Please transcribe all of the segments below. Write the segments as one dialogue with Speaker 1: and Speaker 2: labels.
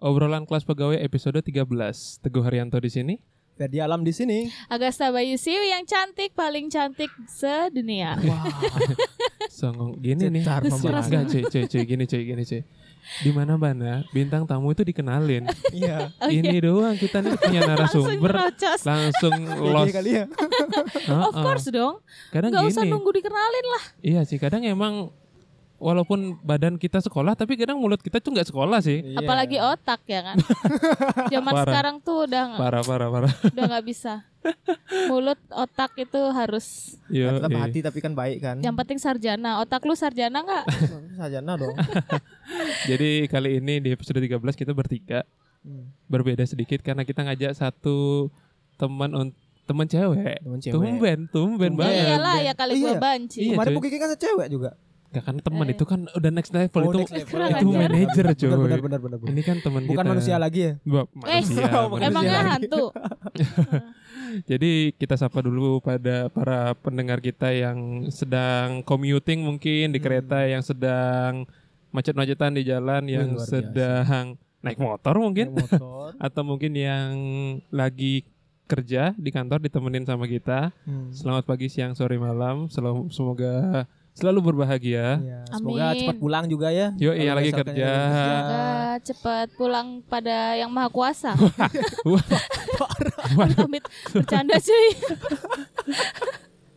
Speaker 1: Obrolan kelas pegawai episode 13. Teguh Haryanto di sini.
Speaker 2: Ferdi Alam di sini.
Speaker 3: Agasta Bayu Siu yang cantik paling cantik sedunia.
Speaker 1: Songong gini nih.
Speaker 2: Cetar
Speaker 1: Enggak,
Speaker 2: memang.
Speaker 1: enggak, cuy, cuy, cuy, gini cuy, gini cuy. Di mana mana bintang tamu itu dikenalin.
Speaker 2: Iya.
Speaker 3: Oh,
Speaker 1: ini doang kita nih punya
Speaker 3: Langsung
Speaker 1: narasumber
Speaker 3: merocos.
Speaker 1: langsung
Speaker 2: Iya
Speaker 1: lost.
Speaker 2: kali ya.
Speaker 3: Of course dong.
Speaker 1: Kadang
Speaker 3: Nggak
Speaker 1: Ah. Kan gini.
Speaker 3: usah nunggu dikenalin lah.
Speaker 1: Iya sih, kadang emang walaupun badan kita sekolah tapi kadang mulut kita tuh nggak sekolah sih.
Speaker 3: Apalagi otak ya kan. Zaman
Speaker 1: Iya. Parah.
Speaker 3: sekarang tuh udah nggak-
Speaker 1: Parah, parah, parah.
Speaker 3: udah nggak bisa. Mulut otak itu harus.
Speaker 1: Iya.
Speaker 2: tetap
Speaker 1: iya.
Speaker 2: hati tapi kan baik kan.
Speaker 3: Yang penting sarjana. Otak lu sarjana nggak?
Speaker 2: Sajana dong.
Speaker 1: Jadi kali ini di episode 13 kita bertiga.
Speaker 2: Hmm.
Speaker 1: Berbeda sedikit karena kita ngajak satu teman un- teman cewek.
Speaker 2: Temen cewek.
Speaker 1: Tumben, tumben banget.
Speaker 3: Iyalah ya kali
Speaker 2: Iya.
Speaker 3: gua banci.
Speaker 1: Iya,
Speaker 2: Kemarin
Speaker 1: cuy.
Speaker 2: Bu Kiki kan cewek juga.
Speaker 1: Gak kan teman itu kan udah next level
Speaker 2: Oh,
Speaker 1: itu
Speaker 2: next level.
Speaker 1: itu
Speaker 3: Kurang
Speaker 1: manajer cuy.
Speaker 2: Benar benar benar benar. benar.
Speaker 1: Ini kan teman kita.
Speaker 2: Bukan manusia lagi ya.
Speaker 1: Wah,
Speaker 3: Eh,
Speaker 1: manusia, manusia.
Speaker 3: emangnya
Speaker 2: lagi.
Speaker 3: hantu?
Speaker 1: Jadi kita sapa dulu pada para pendengar kita yang sedang commuting mungkin
Speaker 2: Hmm.
Speaker 1: di kereta yang sedang macet-macetan di jalan yang
Speaker 2: luar biasa.
Speaker 1: sedang naik motor mungkin
Speaker 2: Naik motor.
Speaker 1: atau mungkin yang lagi kerja di kantor ditemenin sama kita.
Speaker 2: Hmm.
Speaker 1: Selamat pagi, siang, sore, malam. Selalu semoga selalu berbahagia.
Speaker 2: Ya, semoga
Speaker 3: Amin.
Speaker 2: cepat pulang juga ya.
Speaker 1: Yo, iya,
Speaker 2: Kalau
Speaker 1: lagi
Speaker 2: misalkan
Speaker 1: kerja.
Speaker 2: yang lagi kerja.
Speaker 3: Semoga cepat pulang pada yang maha kuasa.
Speaker 1: Wah,
Speaker 3: Amit bercanda cuy.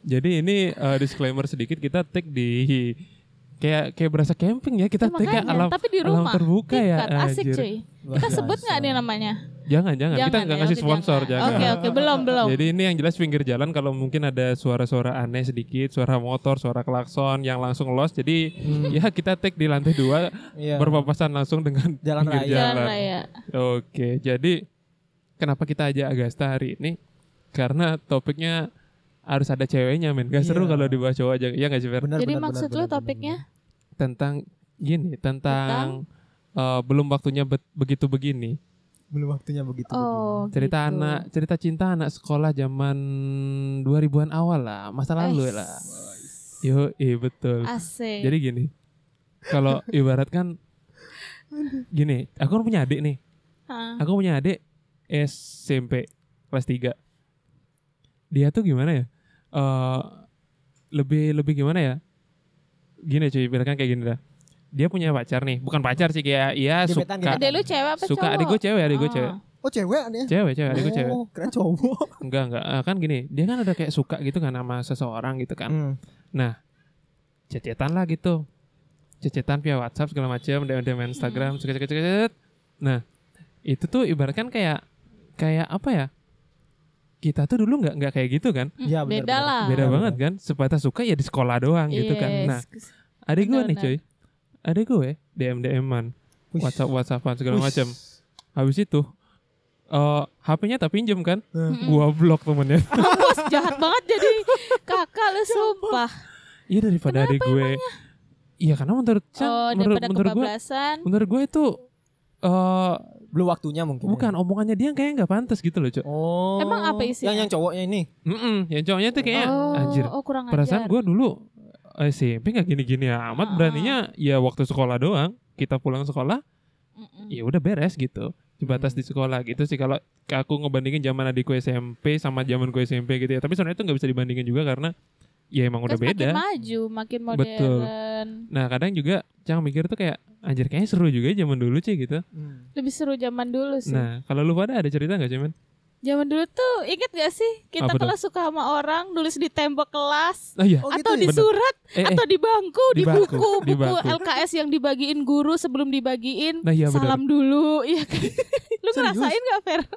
Speaker 1: Jadi ini eh, disclaimer sedikit kita take di kayak kayak berasa camping ya kita
Speaker 3: Ya,
Speaker 1: take kayak
Speaker 3: makanya,
Speaker 1: alam
Speaker 3: tapi di
Speaker 1: alam
Speaker 3: rumah.
Speaker 1: terbuka ya.
Speaker 3: Tingkat, asik
Speaker 1: anjir.
Speaker 3: cuy.
Speaker 2: Luar
Speaker 3: Kita
Speaker 2: biasa.
Speaker 3: sebut nggak nih namanya?
Speaker 1: Jangan, jangan. kita
Speaker 3: Jangan
Speaker 1: nggak
Speaker 3: ya,
Speaker 1: ngasih
Speaker 3: oke,
Speaker 1: sponsor, jangan.
Speaker 3: Oke, oke, belum, belum.
Speaker 1: Jadi ini yang jelas pinggir jalan kalau mungkin ada suara-suara aneh sedikit, suara motor, suara klakson yang langsung los. Jadi
Speaker 3: Hmm.
Speaker 1: ya kita take di lantai dua
Speaker 3: Ya.
Speaker 2: Iya.
Speaker 1: berpapasan langsung dengan
Speaker 2: Jalan
Speaker 1: pinggir
Speaker 2: raya.
Speaker 3: Jalan
Speaker 1: ya.
Speaker 3: raya.
Speaker 1: Oke, jadi kenapa kita ajak Agasta hari ini? Karena topiknya harus ada ceweknya, men. Gak seru
Speaker 2: Iya.
Speaker 1: kalau dibahas cowok aja. Iya gak sih, Fer?
Speaker 2: Benar,
Speaker 3: Jadi
Speaker 2: benar,
Speaker 3: maksud
Speaker 2: benar,
Speaker 3: lu
Speaker 2: benar,
Speaker 3: topiknya?
Speaker 1: Tentang gini, tentang, eh, belum waktunya bet- begitu begini.
Speaker 2: benar. belum waktunya begitu.
Speaker 3: Oh,
Speaker 1: cerita
Speaker 3: gitu.
Speaker 1: anak cerita cinta anak sekolah zaman 2000-an awal lah masa lalu
Speaker 3: Ais.
Speaker 1: lah yo eh betul
Speaker 3: Asik.
Speaker 1: jadi gini kalau ibarat kan gini aku kan punya adik nih
Speaker 3: Hah.
Speaker 1: aku punya adik SMP kelas 3 dia tuh gimana ya Eh lebih lebih gimana ya gini cuy ibaratkan kayak gini dah dia punya pacar nih bukan pacar sih kayak iya suka
Speaker 2: Gebetan, gebetan.
Speaker 3: Adek lu cewek apa
Speaker 1: suka
Speaker 3: cowok?
Speaker 1: adik gue cewek adik gue
Speaker 3: Ah.
Speaker 1: cewek
Speaker 2: Oh, cewek aneh.
Speaker 1: cewek cewek adik gue cewek
Speaker 2: Oh, keren cowok.
Speaker 1: Enggak, enggak. Eh, kan gini, dia kan ada kayak suka gitu kan sama seseorang gitu kan.
Speaker 2: Hmm.
Speaker 1: Cecetan lah gitu. Cecetan via WhatsApp segala macam, DM DM
Speaker 3: Hmm.
Speaker 1: Instagram, cek cek cek cek. Nah, itu tuh ibaratkan kayak kayak apa ya? Kita tuh dulu nggak nggak kayak gitu kan.
Speaker 3: Mm,
Speaker 2: Iya, benar,
Speaker 3: beda
Speaker 2: benar.
Speaker 3: lah.
Speaker 1: Beda
Speaker 2: Ah.
Speaker 1: banget kan? Sebatas suka ya di sekolah doang gitu kan.
Speaker 3: Yes.
Speaker 1: Nah, adik gue nih
Speaker 3: Benar-benar.
Speaker 1: cuy. Adik gue DM DM-an,
Speaker 2: Wih.
Speaker 1: WhatsApp WhatsAppan segala
Speaker 2: Wih.
Speaker 1: macam. Habis itu eh HP-nya tak pinjem kan?
Speaker 3: Mm-mm.
Speaker 1: Gua blok temennya.
Speaker 3: Mampus, Hmm, jahat banget jadi kakak lu sumpah.
Speaker 1: Iya daripada adik gue. Iya karena menurut Cang,
Speaker 3: Oh,
Speaker 1: menurut
Speaker 3: daripada
Speaker 1: menurut gue,
Speaker 3: kebablasan.
Speaker 1: menurut gue itu eh
Speaker 2: Belum waktunya mungkin. ya.
Speaker 1: bukan
Speaker 3: Iya.
Speaker 1: omongannya dia kayaknya nggak pantas gitu loh cok.
Speaker 2: Oh.
Speaker 3: Emang apa isinya?
Speaker 2: Yang yang cowoknya ini.
Speaker 1: Mm-mm, yang cowoknya tuh kayaknya
Speaker 3: oh,
Speaker 1: anjir.
Speaker 3: oh, kurang
Speaker 1: Perasaan
Speaker 3: ajar.
Speaker 1: gue dulu eh, SMP nggak gini-gini amat.
Speaker 3: Ah.
Speaker 1: Beraninya ya waktu sekolah doang. Kita pulang sekolah,
Speaker 3: Mm-mm.
Speaker 1: ya udah beres gitu. Sebatas
Speaker 2: Hmm.
Speaker 1: di sekolah gitu sih kalau aku ngebandingin zaman adikku SMP sama zaman gue SMP gitu ya. Tapi sebenarnya itu nggak bisa dibandingin juga karena ya emang udah
Speaker 3: Terus
Speaker 1: beda.
Speaker 3: Makin maju, makin modern.
Speaker 1: Betul. Nah kadang juga Cang mikir tuh kayak anjir kayaknya seru juga zaman dulu sih gitu.
Speaker 3: Lebih seru zaman dulu sih.
Speaker 1: Nah kalau lu pada ada cerita nggak sih men?
Speaker 3: Zaman dulu tuh inget gak sih kita
Speaker 1: Apa tuh?
Speaker 3: kalau suka sama orang nulis di tembok kelas
Speaker 1: Oh iya.
Speaker 2: Oh, gitu
Speaker 3: atau di
Speaker 2: ya?
Speaker 3: surat
Speaker 1: Eh, eh.
Speaker 3: atau di bangku
Speaker 1: Di
Speaker 3: di,
Speaker 1: bangku,
Speaker 3: buku
Speaker 1: di
Speaker 3: buku
Speaker 1: bangku.
Speaker 3: LKS yang dibagiin guru sebelum dibagiin
Speaker 1: Nah, iya, benar.
Speaker 3: salam dulu iya kan lu ngerasain gak Fer
Speaker 1: Eh,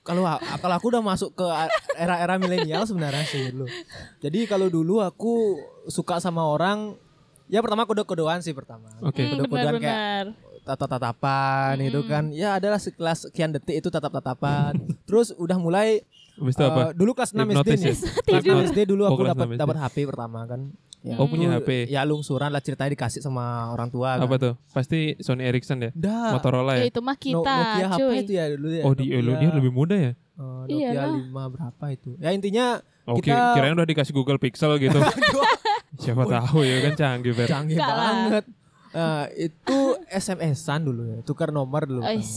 Speaker 2: Kalau a- kalau aku udah masuk ke a- era-era milenial sebenarnya sih dulu. Jadi kalau dulu aku suka sama orang ya pertama kode-kodean sih pertama.
Speaker 1: Oke. Hmm.
Speaker 3: Hmm,
Speaker 2: Kode-kodean kayak
Speaker 3: benar-benar
Speaker 2: tatap-tatapan itu kan. Ya adalah sekelas sekian detik itu tatap-tatapan. Terus udah mulai
Speaker 1: Habis itu apa?
Speaker 2: eh, dulu kelas 6 SD
Speaker 1: Hipnotis
Speaker 2: nih.
Speaker 1: ya?
Speaker 2: Kelas
Speaker 1: Tidur.
Speaker 2: 6 SD dulu
Speaker 1: Oh,
Speaker 2: aku
Speaker 1: kelas
Speaker 2: dapat
Speaker 1: 6 SD.
Speaker 2: dapat HP pertama kan. Ya,
Speaker 1: Oh, punya
Speaker 2: dulu
Speaker 1: HP.
Speaker 2: Ya lungsuran lah ceritanya dikasih sama orang tua kan.
Speaker 1: Apa tuh? Pasti Sony Ericsson ya?
Speaker 2: Dah.
Speaker 1: Motorola
Speaker 3: ya
Speaker 1: ya?
Speaker 3: itu mah
Speaker 2: No-
Speaker 3: kita
Speaker 2: Nokia HP
Speaker 3: cuy
Speaker 2: itu ya dulu ya.
Speaker 1: Oh di eh, lu dia lebih muda ya?
Speaker 2: Oh,
Speaker 3: Iyalah.
Speaker 2: Nokia 5 berapa itu? Ya intinya
Speaker 1: Oke,
Speaker 2: Kita-
Speaker 1: kirain udah dikasih Google Pixel gitu. Siapa tahu ya kan canggih Fer.
Speaker 2: canggih
Speaker 3: Enggak lah.
Speaker 2: banget. Eh, itu SMS-an dulu ya, tukar nomor dulu.
Speaker 3: Ois.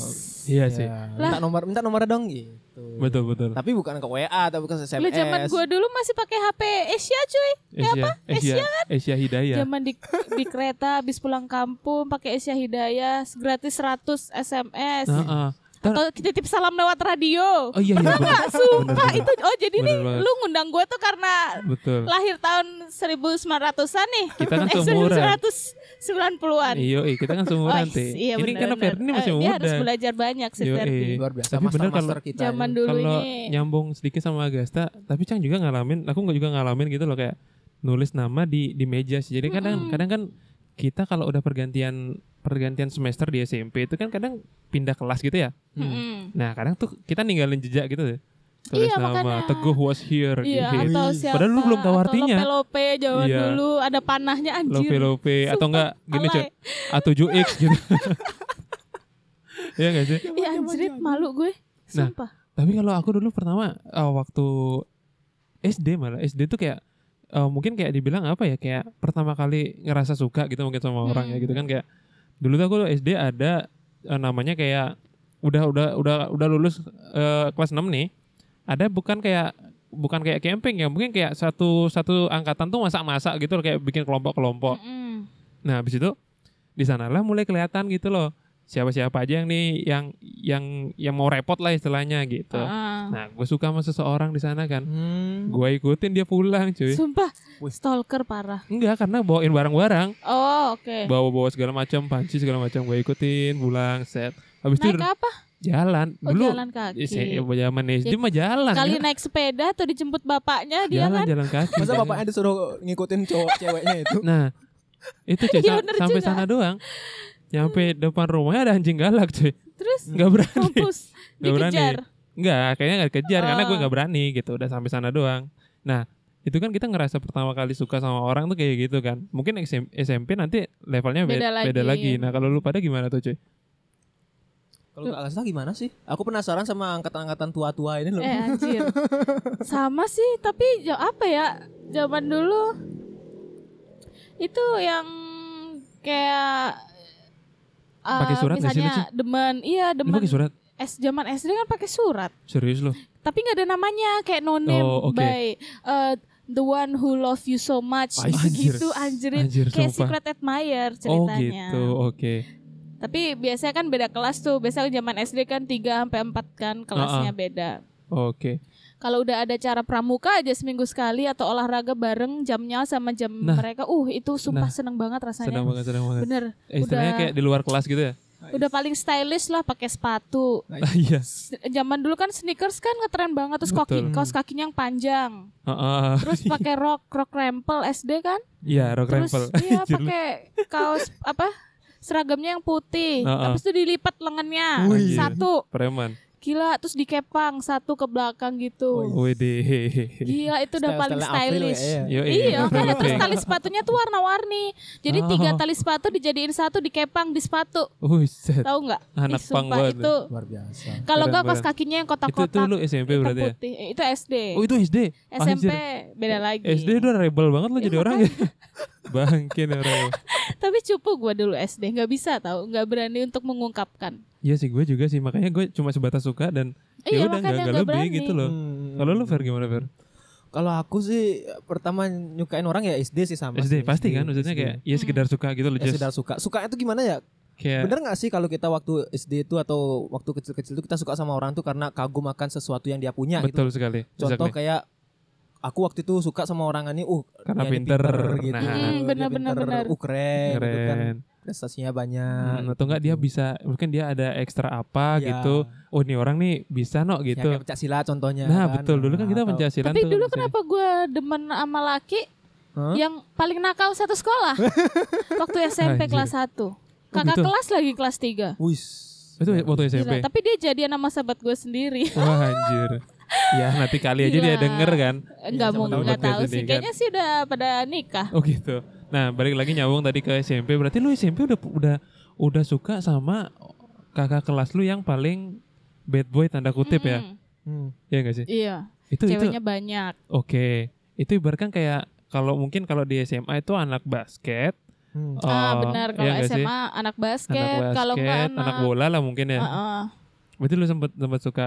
Speaker 1: Iya
Speaker 2: Ya,
Speaker 1: sih.
Speaker 2: minta nomor, minta nomor dong gitu.
Speaker 1: Betul betul.
Speaker 2: Tapi bukan ke WA tapi ke SMS.
Speaker 3: Lu zaman gua dulu masih pakai HP Asia cuy. Ya apa?
Speaker 1: Asia, Iya.
Speaker 3: Asia.
Speaker 1: Asia Hidayah.
Speaker 3: Zaman di di kereta habis pulang kampung pakai Asia Hidayah gratis 100 SMS.
Speaker 1: Nah, ah. Ntar-
Speaker 3: Atau Oh, titip salam lewat radio.
Speaker 1: oh iya iya bener.
Speaker 3: Pak, sumpah itu. Oh, jadi
Speaker 1: Bener
Speaker 3: nih
Speaker 1: banget.
Speaker 3: lu ngundang gue tuh karena
Speaker 1: Betul.
Speaker 3: lahir tahun 1900-an nih.
Speaker 1: Kita kan
Speaker 3: eh,
Speaker 1: seumuran.
Speaker 3: 1990-an.
Speaker 1: Iya, eh, kita kan semua
Speaker 3: Wah,
Speaker 1: nanti.
Speaker 3: iya,
Speaker 1: ini
Speaker 3: bener,
Speaker 1: karena
Speaker 3: bener.
Speaker 1: Ferdi ini masih
Speaker 3: Eh, Dia
Speaker 1: muda.
Speaker 3: harus belajar banyak sih
Speaker 1: Yo,
Speaker 3: Ferdi.
Speaker 1: eh.
Speaker 2: luar biasa
Speaker 1: Tapi bener
Speaker 2: master-master kita.
Speaker 3: Zaman
Speaker 2: ini.
Speaker 3: dulu
Speaker 1: Kalau ya,
Speaker 3: ini.
Speaker 1: nyambung sedikit sama Agasta, tapi Cang juga ngalamin, aku nggak juga ngalamin gitu loh kayak nulis nama di di meja sih. Jadi kadang kadang kan kita kalau udah pergantian pergantian semester di SMP itu kan kadang pindah kelas gitu ya.
Speaker 3: Mm-mm.
Speaker 1: Nah, kadang tuh kita ninggalin jejak gitu deh. Tulis
Speaker 3: Iya,
Speaker 1: nama
Speaker 3: makanya.
Speaker 1: Teguh was here.
Speaker 3: Iya,
Speaker 1: gitu.
Speaker 3: atau
Speaker 2: Wih.
Speaker 3: siapa?
Speaker 1: Padahal lu belum tahu
Speaker 3: atau
Speaker 1: artinya.
Speaker 3: Lope-lope zaman
Speaker 1: Iya.
Speaker 3: dulu ada panahnya anjir.
Speaker 1: Lope Lope atau
Speaker 3: Sumpah,
Speaker 1: enggak gini cuy.
Speaker 3: alay.
Speaker 1: A7X gitu. Iya enggak sih?
Speaker 3: Iya anjir, malu gue.
Speaker 1: Nah,
Speaker 3: Sumpah.
Speaker 1: Tapi kalau aku dulu pertama eh, waktu SD malah SD tuh kayak eh, mungkin kayak dibilang apa ya kayak pertama kali ngerasa suka gitu mungkin sama orang ya
Speaker 3: Hmm.
Speaker 1: gitu kan kayak dulu tuh aku SD ada eh, namanya kayak udah udah udah udah lulus eh, kelas 6 nih ada bukan kayak bukan kayak camping ya mungkin kayak satu satu angkatan tuh masak-masak gitu loh, kayak bikin kelompok-kelompok
Speaker 3: Mm-mm.
Speaker 1: Nah, habis itu di sanalah mulai kelihatan gitu loh. Siapa-siapa aja yang nih yang yang yang mau repot lah istilahnya gitu.
Speaker 3: Ah.
Speaker 1: Nah, gue suka sama seseorang di sana kan.
Speaker 2: Hmm.
Speaker 1: Gue ikutin dia pulang, cuy.
Speaker 3: Sumpah,
Speaker 2: Wih.
Speaker 3: stalker parah.
Speaker 1: Enggak, karena bawain barang-barang,
Speaker 3: Oh, oke.
Speaker 1: bawa-bawa segala macam, panci segala macam gue ikutin, pulang, set. Habis itu
Speaker 3: Naik apa?
Speaker 1: jalan.
Speaker 3: Oh,
Speaker 1: Dulu
Speaker 3: jalan kaki.
Speaker 1: ya, zaman SD mah jalan.
Speaker 3: Kali
Speaker 1: kan?
Speaker 3: naik sepeda atau dijemput bapaknya dia
Speaker 1: jalan
Speaker 3: kan?
Speaker 1: jalan kaki.
Speaker 2: Masa
Speaker 1: kan?
Speaker 2: bapaknya disuruh ngikutin cowok ceweknya itu?
Speaker 1: Nah, itu cuy,
Speaker 3: Iya,
Speaker 1: sa-
Speaker 3: bener
Speaker 1: sampai
Speaker 3: juga.
Speaker 1: sana doang. Nyampe depan rumahnya ada anjing galak, cuy.
Speaker 3: Terus
Speaker 1: Enggak berani.
Speaker 3: kampus
Speaker 1: Gak berani.
Speaker 3: dikejar.
Speaker 1: Enggak, kayaknya gak dikejar karena gue
Speaker 3: Oh.
Speaker 1: gak berani gitu. Udah sampai sana doang. Nah, itu kan kita ngerasa pertama kali suka sama orang tuh kayak gitu kan. Mungkin SM SMP nanti levelnya be-
Speaker 3: Beda
Speaker 1: beda,
Speaker 3: lagi.
Speaker 1: lagi. Nah, kalau lu pada gimana tuh, cuy?
Speaker 2: Kalau Kak Alsa gimana sih? Aku penasaran sama angkatan-angkatan tua-tua ini loh.
Speaker 3: Eh anjir. Sama sih, tapi ya apa ya? Zaman dulu itu yang kayak eh,
Speaker 1: Pakai surat nggak sih lu,
Speaker 3: misalnya demen, iya
Speaker 1: Lu
Speaker 3: demen.
Speaker 1: pakai surat?
Speaker 3: S zaman SD kan pakai surat,
Speaker 1: Serius lu?
Speaker 3: tapi nggak ada namanya kayak no name
Speaker 1: Oh, oke.
Speaker 3: by eh, the one who love you so much
Speaker 1: Anjir.
Speaker 3: gitu anjirin
Speaker 1: Anjir,
Speaker 3: kayak
Speaker 1: sumpah.
Speaker 3: secret admirer
Speaker 1: Oh
Speaker 3: ceritanya.
Speaker 1: gitu, oke.
Speaker 3: Tapi biasanya kan beda kelas tuh. Biasanya zaman SD kan 3 sampai 4 kan kelasnya beda.
Speaker 1: Oke.
Speaker 3: Kalau udah ada cara pramuka aja seminggu sekali atau olahraga bareng jamnya sama jam
Speaker 1: Nah.
Speaker 3: mereka. Uh, itu sumpah
Speaker 1: Nah.
Speaker 3: seneng banget rasanya.
Speaker 1: Senang banget, senang banget.
Speaker 3: Bener.
Speaker 1: Eh, istilahnya
Speaker 3: udah-
Speaker 1: kayak di luar kelas gitu ya?
Speaker 3: Udah paling stylish lah pakai sepatu.
Speaker 1: Iya.
Speaker 3: S- Zaman dulu kan sneakers kan ngetren banget terus kaki
Speaker 1: Betul.
Speaker 3: kaos kakinya yang panjang.
Speaker 1: Heeh.
Speaker 3: Terus pakai rok rok rempel SD kan.
Speaker 1: Iya, rock
Speaker 3: Terus
Speaker 1: rempel.
Speaker 3: iya
Speaker 1: Anjir lu.
Speaker 3: pakai kaos apa? seragamnya yang putih,
Speaker 1: Nah, ah.
Speaker 3: habis itu dilipat lengannya
Speaker 1: Wih.
Speaker 3: satu,
Speaker 1: Preman.
Speaker 3: Gila, terus dikepang satu ke belakang
Speaker 1: Oh,
Speaker 3: gitu.
Speaker 1: Wede. iya.
Speaker 3: Gila, itu udah paling
Speaker 2: ya?
Speaker 3: stylish.
Speaker 1: Yo,
Speaker 3: Iya, makanya terus tali sepatunya tuh warna-warni. Jadi
Speaker 1: Oh.
Speaker 3: tiga tali sepatu dijadiin satu dikepang di sepatu.
Speaker 1: set.
Speaker 3: Tahu nggak? Ih,
Speaker 1: Anak pang
Speaker 3: sumpah,
Speaker 1: banget.
Speaker 3: itu.
Speaker 2: iya. Luar biasa.
Speaker 3: Kalau nggak
Speaker 1: Keren
Speaker 3: kaos kakinya yang
Speaker 1: Itu
Speaker 3: kotak-kotak.
Speaker 1: tuh lu SMP
Speaker 3: hitam
Speaker 1: berarti ya?
Speaker 3: putih. Eh, Itu SD.
Speaker 1: Oh itu SD?
Speaker 3: SMP
Speaker 1: Anjir.
Speaker 3: beda lagi.
Speaker 1: SD udah rebel banget
Speaker 3: Iya,
Speaker 1: lo jadi orang ya. Bangkin orang. ya.
Speaker 3: Tapi cupu gue dulu SD, nggak bisa tahu, nggak berani untuk mengungkapkan.
Speaker 1: Iya sih gue juga sih makanya gue cuma sebatas suka dan ya
Speaker 3: Iya,
Speaker 1: udah nggak
Speaker 3: makanya
Speaker 1: nggak
Speaker 3: nggak
Speaker 1: lebih
Speaker 3: berani.
Speaker 1: gitu loh.
Speaker 2: Hmm.
Speaker 1: Kalau lu Fer gimana Fer?
Speaker 2: Kalau aku sih pertama nyukain orang ya SD sih sama.
Speaker 1: SD
Speaker 2: sih,
Speaker 1: pasti
Speaker 2: SD,
Speaker 1: kan maksudnya
Speaker 2: SD.
Speaker 1: kayak ya sekedar suka gitu loh
Speaker 2: Ya,
Speaker 1: just
Speaker 2: sekedar suka. Suka itu gimana ya?
Speaker 1: kayak
Speaker 2: Bener gak sih kalau kita waktu SD itu atau waktu kecil-kecil itu kita suka sama orang tuh karena kagum akan sesuatu yang dia punya
Speaker 1: betul
Speaker 2: gitu.
Speaker 1: sekali.
Speaker 2: Contoh
Speaker 1: Exactly.
Speaker 2: kayak aku waktu itu suka sama orang ini, uh
Speaker 1: Karena
Speaker 2: dia ini
Speaker 1: pinter.
Speaker 2: gitu.
Speaker 1: Nah.
Speaker 3: Mm,
Speaker 2: Dia
Speaker 3: bener, bener,
Speaker 2: pinter.
Speaker 3: bener.
Speaker 2: Uh keren, gitu kan.
Speaker 1: keren.
Speaker 2: Prestasinya banyak.
Speaker 1: Hmm, atau enggak dia bisa mungkin dia ada ekstra apa
Speaker 2: Ya.
Speaker 1: gitu. Oh ini orang nih bisa no
Speaker 2: Ya, kayak
Speaker 1: gitu.
Speaker 2: pencak silat contohnya.
Speaker 1: nah,
Speaker 2: kan.
Speaker 1: betul dulu kan
Speaker 2: Nah,
Speaker 1: kita
Speaker 2: atau-
Speaker 1: pencaksilan
Speaker 3: Tapi
Speaker 1: tuh.
Speaker 3: dulu
Speaker 1: maksudnya.
Speaker 3: kenapa gue demen sama laki
Speaker 2: Hah?
Speaker 3: yang paling nakal satu sekolah? Waktu SMP
Speaker 1: Anjir.
Speaker 3: kelas 1. Kakak
Speaker 1: gitu?
Speaker 3: kelas lagi kelas 3.
Speaker 2: Wis. Hmm,
Speaker 1: Itu waktu SMP.
Speaker 3: Gila, tapi dia jadian sama sahabat gue sendiri.
Speaker 1: Wah anjir. Ya nanti kali aja
Speaker 3: Gila.
Speaker 1: dia denger kan.
Speaker 3: Enggak mau
Speaker 1: tahu
Speaker 3: enggak
Speaker 1: dia
Speaker 3: tahu sih.
Speaker 1: sendiri kan.
Speaker 3: Kayaknya sih udah pada nikah.
Speaker 1: Oh gitu. Nah balik lagi nyambung tadi ke SMP. Berarti lu SMP udah udah udah suka sama kakak kelas lu yang paling bad boy tanda kutip ya?
Speaker 3: Mm-mm.
Speaker 2: Hmm.
Speaker 1: Iya gak sih?
Speaker 3: Iya,
Speaker 1: Itu
Speaker 3: ceweknya
Speaker 1: itu.
Speaker 3: banyak.
Speaker 1: Oke. Itu ibaratkan kayak kalau mungkin kalau di SMA itu anak basket,
Speaker 2: Hmm.
Speaker 1: Eh,
Speaker 3: ah benar
Speaker 1: iya
Speaker 3: kalau
Speaker 1: nggak sih?
Speaker 3: SMA anak basket,
Speaker 1: anak basket,
Speaker 3: kalau enggak anak,
Speaker 1: anak bola lah mungkin ya.
Speaker 3: Heeh.
Speaker 1: Berarti lu sempet sempet suka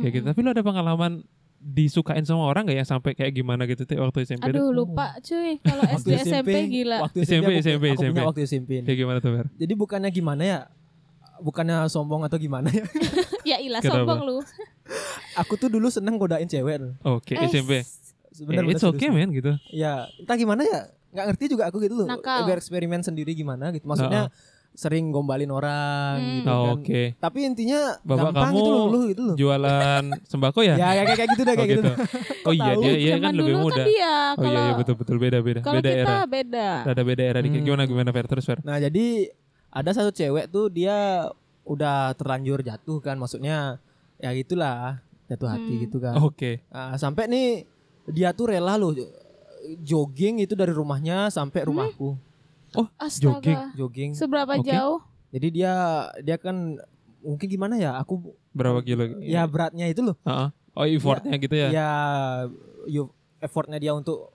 Speaker 1: kayak gitu. Tapi lu ada pengalaman disukain sama orang nggak yang sampai kayak gimana gitu teh waktu SMP? tuh? Oh.
Speaker 3: Aduh lupa cuy kalau SD SMP gila.
Speaker 2: Waktu
Speaker 1: SMP,
Speaker 2: SMP, aku,
Speaker 1: SMP.
Speaker 2: aku punya waktu SMP. ini.
Speaker 1: Kayak gimana tuh Fer?
Speaker 2: Jadi bukannya gimana ya? Bukannya sombong atau gimana ya?
Speaker 3: ya ilah
Speaker 1: Kenapa?
Speaker 3: sombong lu.
Speaker 2: aku tuh dulu seneng godain cewek. loh.
Speaker 1: Oke
Speaker 3: Eh,
Speaker 1: SMP. Eh,
Speaker 2: Sebenarnya
Speaker 1: it's
Speaker 2: bener,
Speaker 1: okay
Speaker 2: serius.
Speaker 1: man gitu.
Speaker 2: Ya, entah gimana ya? Nggak ngerti juga aku gitu loh.
Speaker 3: Nakal.
Speaker 2: Bereksperimen sendiri gimana gitu. Maksudnya sering gombalin orang
Speaker 3: Hmm.
Speaker 2: gitu
Speaker 1: Oh,
Speaker 2: kan.
Speaker 1: Oke.
Speaker 2: Tapi intinya
Speaker 1: Bapak
Speaker 2: gampang
Speaker 1: kamu
Speaker 2: gitu loh, lu gitu loh.
Speaker 1: Jualan sembako ya?
Speaker 2: Ya, ya kayak kayak gitu deh,
Speaker 1: oh
Speaker 2: kayak gitu.
Speaker 1: gitu.
Speaker 2: deh.
Speaker 1: Oh iya
Speaker 2: Tahu.
Speaker 1: dia iya
Speaker 3: Zaman
Speaker 1: kan lebih
Speaker 3: dulu
Speaker 1: muda.
Speaker 3: kan dia
Speaker 1: oh
Speaker 3: kalau
Speaker 1: iya iya betul betul beda beda
Speaker 3: kalau
Speaker 1: beda
Speaker 3: kita
Speaker 1: era.
Speaker 3: beda.
Speaker 1: Ada beda era dikit.
Speaker 2: Hmm.
Speaker 1: Gimana gimana Fer terus Fer?
Speaker 2: Nah jadi ada satu cewek tuh dia udah terlanjur jatuh kan maksudnya ya gitulah jatuh hati
Speaker 3: Hmm.
Speaker 2: gitu kan.
Speaker 1: Oke.
Speaker 2: Nah, sampai nih dia tuh rela loh jogging itu dari rumahnya sampai
Speaker 1: Hmm.
Speaker 2: rumahku
Speaker 3: Astaga.
Speaker 1: Jogging.
Speaker 2: jogging.
Speaker 3: Seberapa
Speaker 1: Oke.
Speaker 3: jauh?
Speaker 2: Jadi dia dia kan mungkin gimana ya aku
Speaker 1: Berapa kilo?
Speaker 2: ya beratnya itu loh
Speaker 1: Heeh. Oh effortnya gitu ya?
Speaker 2: ya you- effortnya dia untuk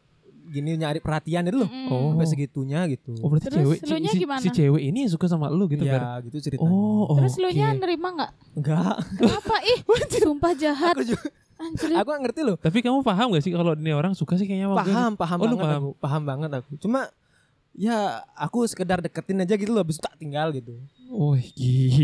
Speaker 2: gini nyari perhatian itu loh
Speaker 3: Mm-mm.
Speaker 1: Oh.
Speaker 2: sampai segitunya gitu.
Speaker 1: Oh berarti
Speaker 3: Terus
Speaker 1: cewek si,
Speaker 3: lunya
Speaker 1: si- si
Speaker 3: gimana?
Speaker 1: cewek ini suka sama lu gitu Fer?
Speaker 2: ya gitu ceritanya.
Speaker 1: Oh,
Speaker 3: Terus
Speaker 1: oke.
Speaker 3: lu nya nerima nggak?
Speaker 2: Enggak.
Speaker 3: Kenapa ih? Sumpah jahat.
Speaker 2: Aku juga-
Speaker 3: Anjir.
Speaker 2: aku nggak ngerti loh.
Speaker 1: Tapi kamu paham gak sih kalau ini orang suka sih kayaknya sama gue?
Speaker 2: paham paham
Speaker 1: Oh, lu
Speaker 2: banget
Speaker 1: paham.
Speaker 2: aku paham banget aku cuma ya aku sekedar deketin aja gitu loh habis itu tak tinggal gitu
Speaker 1: Wah Oh,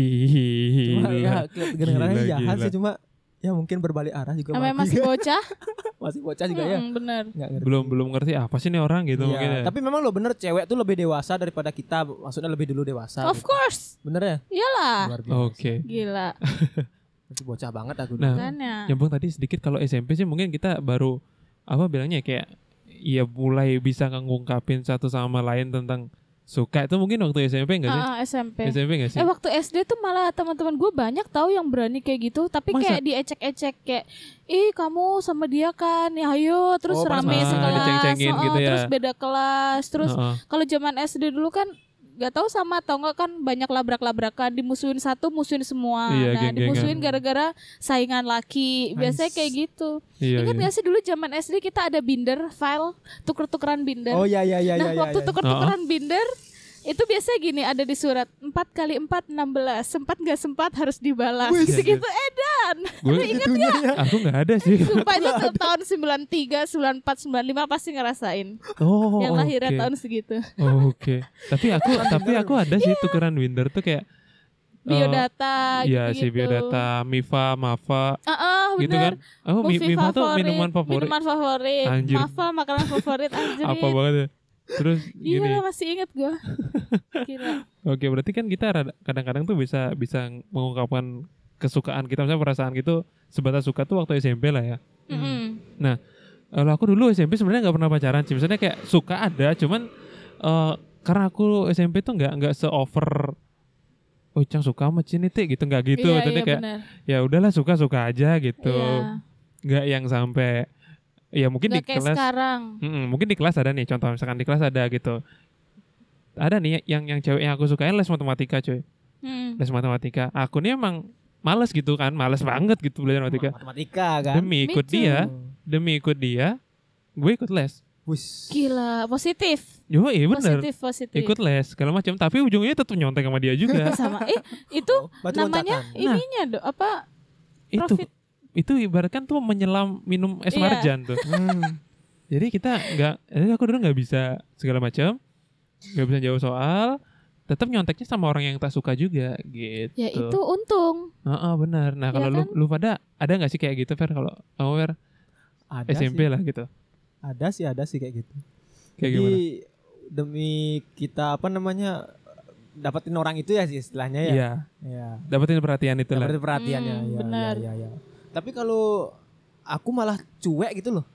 Speaker 1: gila.
Speaker 2: cuma ya kedengarannya
Speaker 1: Gila,
Speaker 2: jahat
Speaker 1: gila.
Speaker 2: sih cuma ya mungkin berbalik arah juga
Speaker 3: Namanya
Speaker 2: mati.
Speaker 3: masih bocah.
Speaker 2: masih bocah juga ya
Speaker 3: Mm, bener.
Speaker 2: nggak ngerti
Speaker 1: belum belum ngerti apa sih nih orang gitu
Speaker 2: Iya,
Speaker 1: mungkin ya.
Speaker 2: tapi memang lo bener cewek tuh lebih dewasa daripada kita maksudnya lebih dulu dewasa
Speaker 3: Of
Speaker 2: gitu.
Speaker 3: course. Ah.
Speaker 2: bener ya
Speaker 3: Iyalah.
Speaker 2: luar biasa
Speaker 1: Oke.
Speaker 3: Gila.
Speaker 1: Eh,
Speaker 2: masih bocah banget aku
Speaker 1: Nah,
Speaker 2: dulu.
Speaker 3: Kan ya.
Speaker 1: Nyambung tadi sedikit kalau SMP sih mungkin kita baru apa bilangnya kayak ya mulai bisa ngungkapin satu sama lain tentang suka itu mungkin waktu SMP enggak sih?
Speaker 3: Ah, ah, SMP.
Speaker 1: SMP enggak sih?
Speaker 3: Eh waktu SD tuh malah teman-teman gue banyak tahu yang berani kayak gitu, tapi
Speaker 1: Masa?
Speaker 3: kayak diecek-ecek kayak, ih kamu sama dia kan, ya ayo
Speaker 2: Oh,
Speaker 3: terus
Speaker 2: pas
Speaker 3: rame
Speaker 1: main.
Speaker 3: sekelas,
Speaker 1: Diceng-cengin
Speaker 3: oh,
Speaker 1: gitu ya.
Speaker 3: terus beda kelas, terus
Speaker 1: Heeh.
Speaker 3: kalau zaman SD dulu kan nggak tahu sama atau enggak kan banyak labrak-labrakan dimusuhin satu musuhin
Speaker 1: Iya,
Speaker 3: semua nah
Speaker 1: geng-gengan.
Speaker 3: dimusuhin gara-gara saingan laki biasanya kayak gitu
Speaker 1: iya,
Speaker 3: ingat
Speaker 1: iya.
Speaker 3: nggak sih dulu zaman SD kita ada binder file tuker-tukeran
Speaker 1: iya,
Speaker 3: binder
Speaker 2: oh ya ya ya
Speaker 3: nah
Speaker 2: ya ya,
Speaker 3: waktu
Speaker 2: ya.
Speaker 3: tuker-tukeran binder itu biasanya gini ada di surat 4 kali 4 16 sempat nggak sempat harus dibalas
Speaker 1: Wih,
Speaker 3: gitu-gitu eh, edan
Speaker 1: Gue
Speaker 2: Segitunya ya.
Speaker 1: aku nggak ada sih.
Speaker 3: sumpahnya tuh tahun 93 94 95 pasti ngerasain
Speaker 1: Oh.
Speaker 3: yang lahirnya
Speaker 1: oke.
Speaker 3: tahun segitu
Speaker 1: Oh, Oke. Tapi aku tapi aku ada sih
Speaker 3: Iya.
Speaker 1: tukeran Winder tuh kayak eh,
Speaker 3: biodata
Speaker 1: Iya
Speaker 3: gitu
Speaker 1: sih biodata, Mifa, Mafa,
Speaker 3: ah ah,
Speaker 1: gitu
Speaker 3: bener
Speaker 1: kan. Oh, Mi-
Speaker 3: Movie
Speaker 1: Mifa tuh minuman favorit.
Speaker 3: Minuman favorit.
Speaker 1: Anjir.
Speaker 3: Mafa makanan favorit anjir.
Speaker 1: Apa banget ya? Terus gini.
Speaker 3: Iya masih inget gue. Gila.
Speaker 1: Oke, berarti kan kita rada- kadang-kadang tuh bisa bisa mengungkapkan kesukaan kita misalnya perasaan gitu sebatas suka tuh waktu SMP lah ya.
Speaker 3: Mm-mm.
Speaker 1: Kalau aku dulu SMP sebenarnya nggak pernah pacaran sih. Misalnya kayak suka ada, cuman eh, karena aku SMP tuh nggak nggak seover Oh, Cang suka sama Cinite gitu nggak gitu.
Speaker 3: Iya,
Speaker 1: Maksudnya
Speaker 3: iya,
Speaker 1: kayak
Speaker 3: bener.
Speaker 1: ya udahlah suka-suka aja gitu.
Speaker 3: Iya.
Speaker 1: Nggak yang sampai ya mungkin
Speaker 3: Nggak
Speaker 1: di
Speaker 3: kayak
Speaker 1: kelas
Speaker 3: sekarang.
Speaker 1: Mm-mm, mungkin di kelas ada nih contoh misalkan di kelas ada gitu. Ada nih yang yang cewek yang aku sukain les matematika, cuy.
Speaker 3: Mm.
Speaker 1: les matematika. Aku nih emang males gitu kan, males banget gitu belajar matematika. ya?
Speaker 2: matematika kan Hmm.
Speaker 1: Demi
Speaker 3: Me
Speaker 1: ikut
Speaker 3: too.
Speaker 1: dia, demi ikut dia, gue ikut les.
Speaker 2: Wis.
Speaker 3: Gila positif.
Speaker 1: Yo, iya bener.
Speaker 3: Positif positif.
Speaker 1: Ikut les segala macam, tapi ujungnya tetap nyontek sama dia juga. Nah.
Speaker 3: sama eh itu
Speaker 2: Oh, batu
Speaker 3: namanya
Speaker 2: loncatan.
Speaker 3: ininya do apa
Speaker 1: itu
Speaker 3: Profit.
Speaker 1: itu ibaratkan tuh menyelam minum es
Speaker 3: Iya.
Speaker 1: marjan tuh.
Speaker 2: Hmm.
Speaker 1: Jadi kita nggak, jadi aku dulu nggak bisa segala macam, nggak bisa jawab soal, tetap nyonteknya sama orang yang tak suka juga gitu.
Speaker 3: ya itu untung
Speaker 1: Heeh, benar. Nah
Speaker 3: Iya
Speaker 1: kalau lu, lu pada ada nggak sih kayak gitu Fer kalau kamu Fer
Speaker 2: ada
Speaker 1: SMP
Speaker 2: sih.
Speaker 1: lah gitu.
Speaker 2: ada sih ada sih kayak gitu
Speaker 1: Kayak
Speaker 2: Jadi
Speaker 3: Iya.
Speaker 1: gimana?
Speaker 2: demi kita apa namanya dapatin orang itu ya sih istilahnya ya.
Speaker 1: Iya.
Speaker 2: Iya.
Speaker 1: dapetin perhatian itu lah.
Speaker 2: Dapatin perhatiannya
Speaker 3: Hmm,
Speaker 2: ya,
Speaker 3: benar.
Speaker 2: ya, ya, ya. Tapi kalau aku malah cuek gitu loh.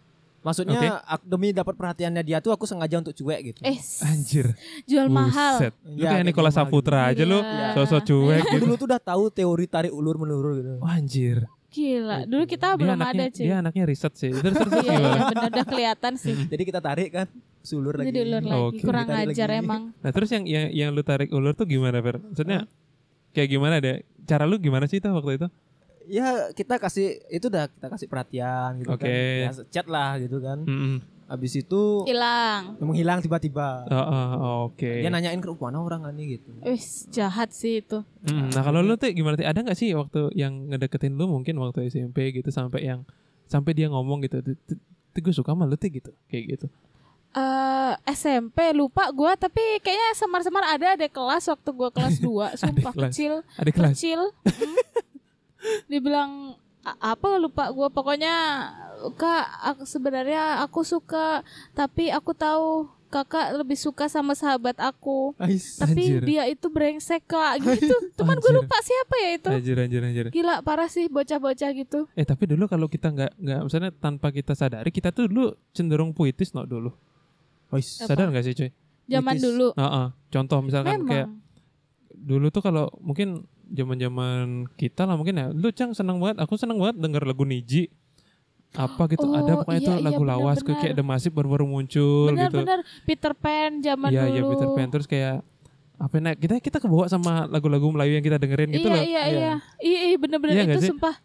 Speaker 2: Maksudnya
Speaker 1: Oke.
Speaker 2: ak- demi dapat perhatiannya dia tuh aku sengaja untuk cuek gitu.
Speaker 3: eh s-
Speaker 1: Anjir.
Speaker 3: jual mahal.
Speaker 1: Buset. Lu
Speaker 2: Iya,
Speaker 1: kayak
Speaker 2: kayak
Speaker 1: Nikola
Speaker 2: gitu.
Speaker 1: Saputra aja lu
Speaker 3: Iya.
Speaker 1: sosok cuek
Speaker 2: Aku
Speaker 1: gitu.
Speaker 2: dulu tuh udah tahu teori tarik ulur menulur gitu.
Speaker 1: Wah, anjir.
Speaker 3: Gila dulu kita
Speaker 1: Dia
Speaker 3: belum
Speaker 1: anaknya
Speaker 3: ada cuy.
Speaker 1: dia anaknya riset sih. Terus terus terus
Speaker 3: Iya iya
Speaker 1: gimana?
Speaker 3: bener udah kelihatan sih.
Speaker 2: Jadi kita tarik kan, sulur
Speaker 3: Jadi
Speaker 2: lagi. Oh.
Speaker 3: diulur lagi
Speaker 1: Oke.
Speaker 3: kurang
Speaker 2: Ditarik
Speaker 3: ajar
Speaker 2: lagi.
Speaker 3: emang.
Speaker 1: Nah, terus yang yang yang lu tarik ulur tuh gimana, Fer? Maksudnya kayak gimana deh? Cara lu gimana sih itu waktu itu?
Speaker 2: Ya kita kasih itu udah kita kasih perhatian gitu
Speaker 1: Oke.
Speaker 2: kan. Ya, chat lah gitu kan.
Speaker 1: Mm-mm.
Speaker 2: Eh Abis itu
Speaker 3: hilang
Speaker 2: menghilang tiba-tiba.
Speaker 1: Ah, ah, oke.
Speaker 2: Dia nanyain ke mana orang ini gitu.
Speaker 3: wis jahat sih itu
Speaker 1: Mm, nah kalau lu tuh gimana sih? Ada nggak sih waktu yang ngedeketin lu mungkin waktu SMP gitu sampai yang sampai dia ngomong gitu, "Tuh, tuh, tuh gue suka sama lu tuh gitu, kayak gitu.
Speaker 3: eh SMP lupa gua tapi kayaknya semar-semar ada ada kelas waktu gua kelas 2 sumpah
Speaker 1: kelas.
Speaker 3: kecil
Speaker 1: Ada kelas.
Speaker 3: kecil Mm. dibilang "A- apa lupa gua pokoknya kak aku- sebenarnya aku suka tapi aku tahu kakak lebih suka sama sahabat aku tapi
Speaker 1: Anjir.
Speaker 3: dia itu brengsek kak gitu cuman gue
Speaker 1: Anjir.
Speaker 3: lupa siapa ya itu
Speaker 1: Anjir anjir anjir.
Speaker 3: gila parah sih bocah-bocah gitu
Speaker 1: Eh tapi dulu kalau kita nggak nggak misalnya tanpa kita sadari kita tuh dulu cenderung puitis no dulu.
Speaker 2: Wais.
Speaker 1: Sadar nggak sih cuy?
Speaker 3: zaman
Speaker 2: Puitis.
Speaker 3: dulu
Speaker 1: Heeh. Contoh misalkan kan kayak
Speaker 3: memang
Speaker 1: dulu tuh kalau mungkin zaman-zaman kita lah mungkin ya lu Cang senang banget aku senang banget denger lagu Niji apa gitu
Speaker 3: Oh,
Speaker 1: ada pokoknya
Speaker 3: iya,
Speaker 1: itu
Speaker 3: iya,
Speaker 1: lagu lawas
Speaker 3: benar-benar.
Speaker 1: kayak The Massive baru-baru muncul gitu
Speaker 3: benar-benar Peter Pan zaman
Speaker 1: Iya
Speaker 3: dulu
Speaker 1: iya Peter Pan terus kayak apa nih kita kita kebawa sama lagu-lagu Melayu yang kita dengerin gitu
Speaker 3: iya,
Speaker 1: loh.
Speaker 3: iya iya iya iya bener-bener
Speaker 1: Iya nggak
Speaker 3: itu
Speaker 1: sih?
Speaker 3: sumpah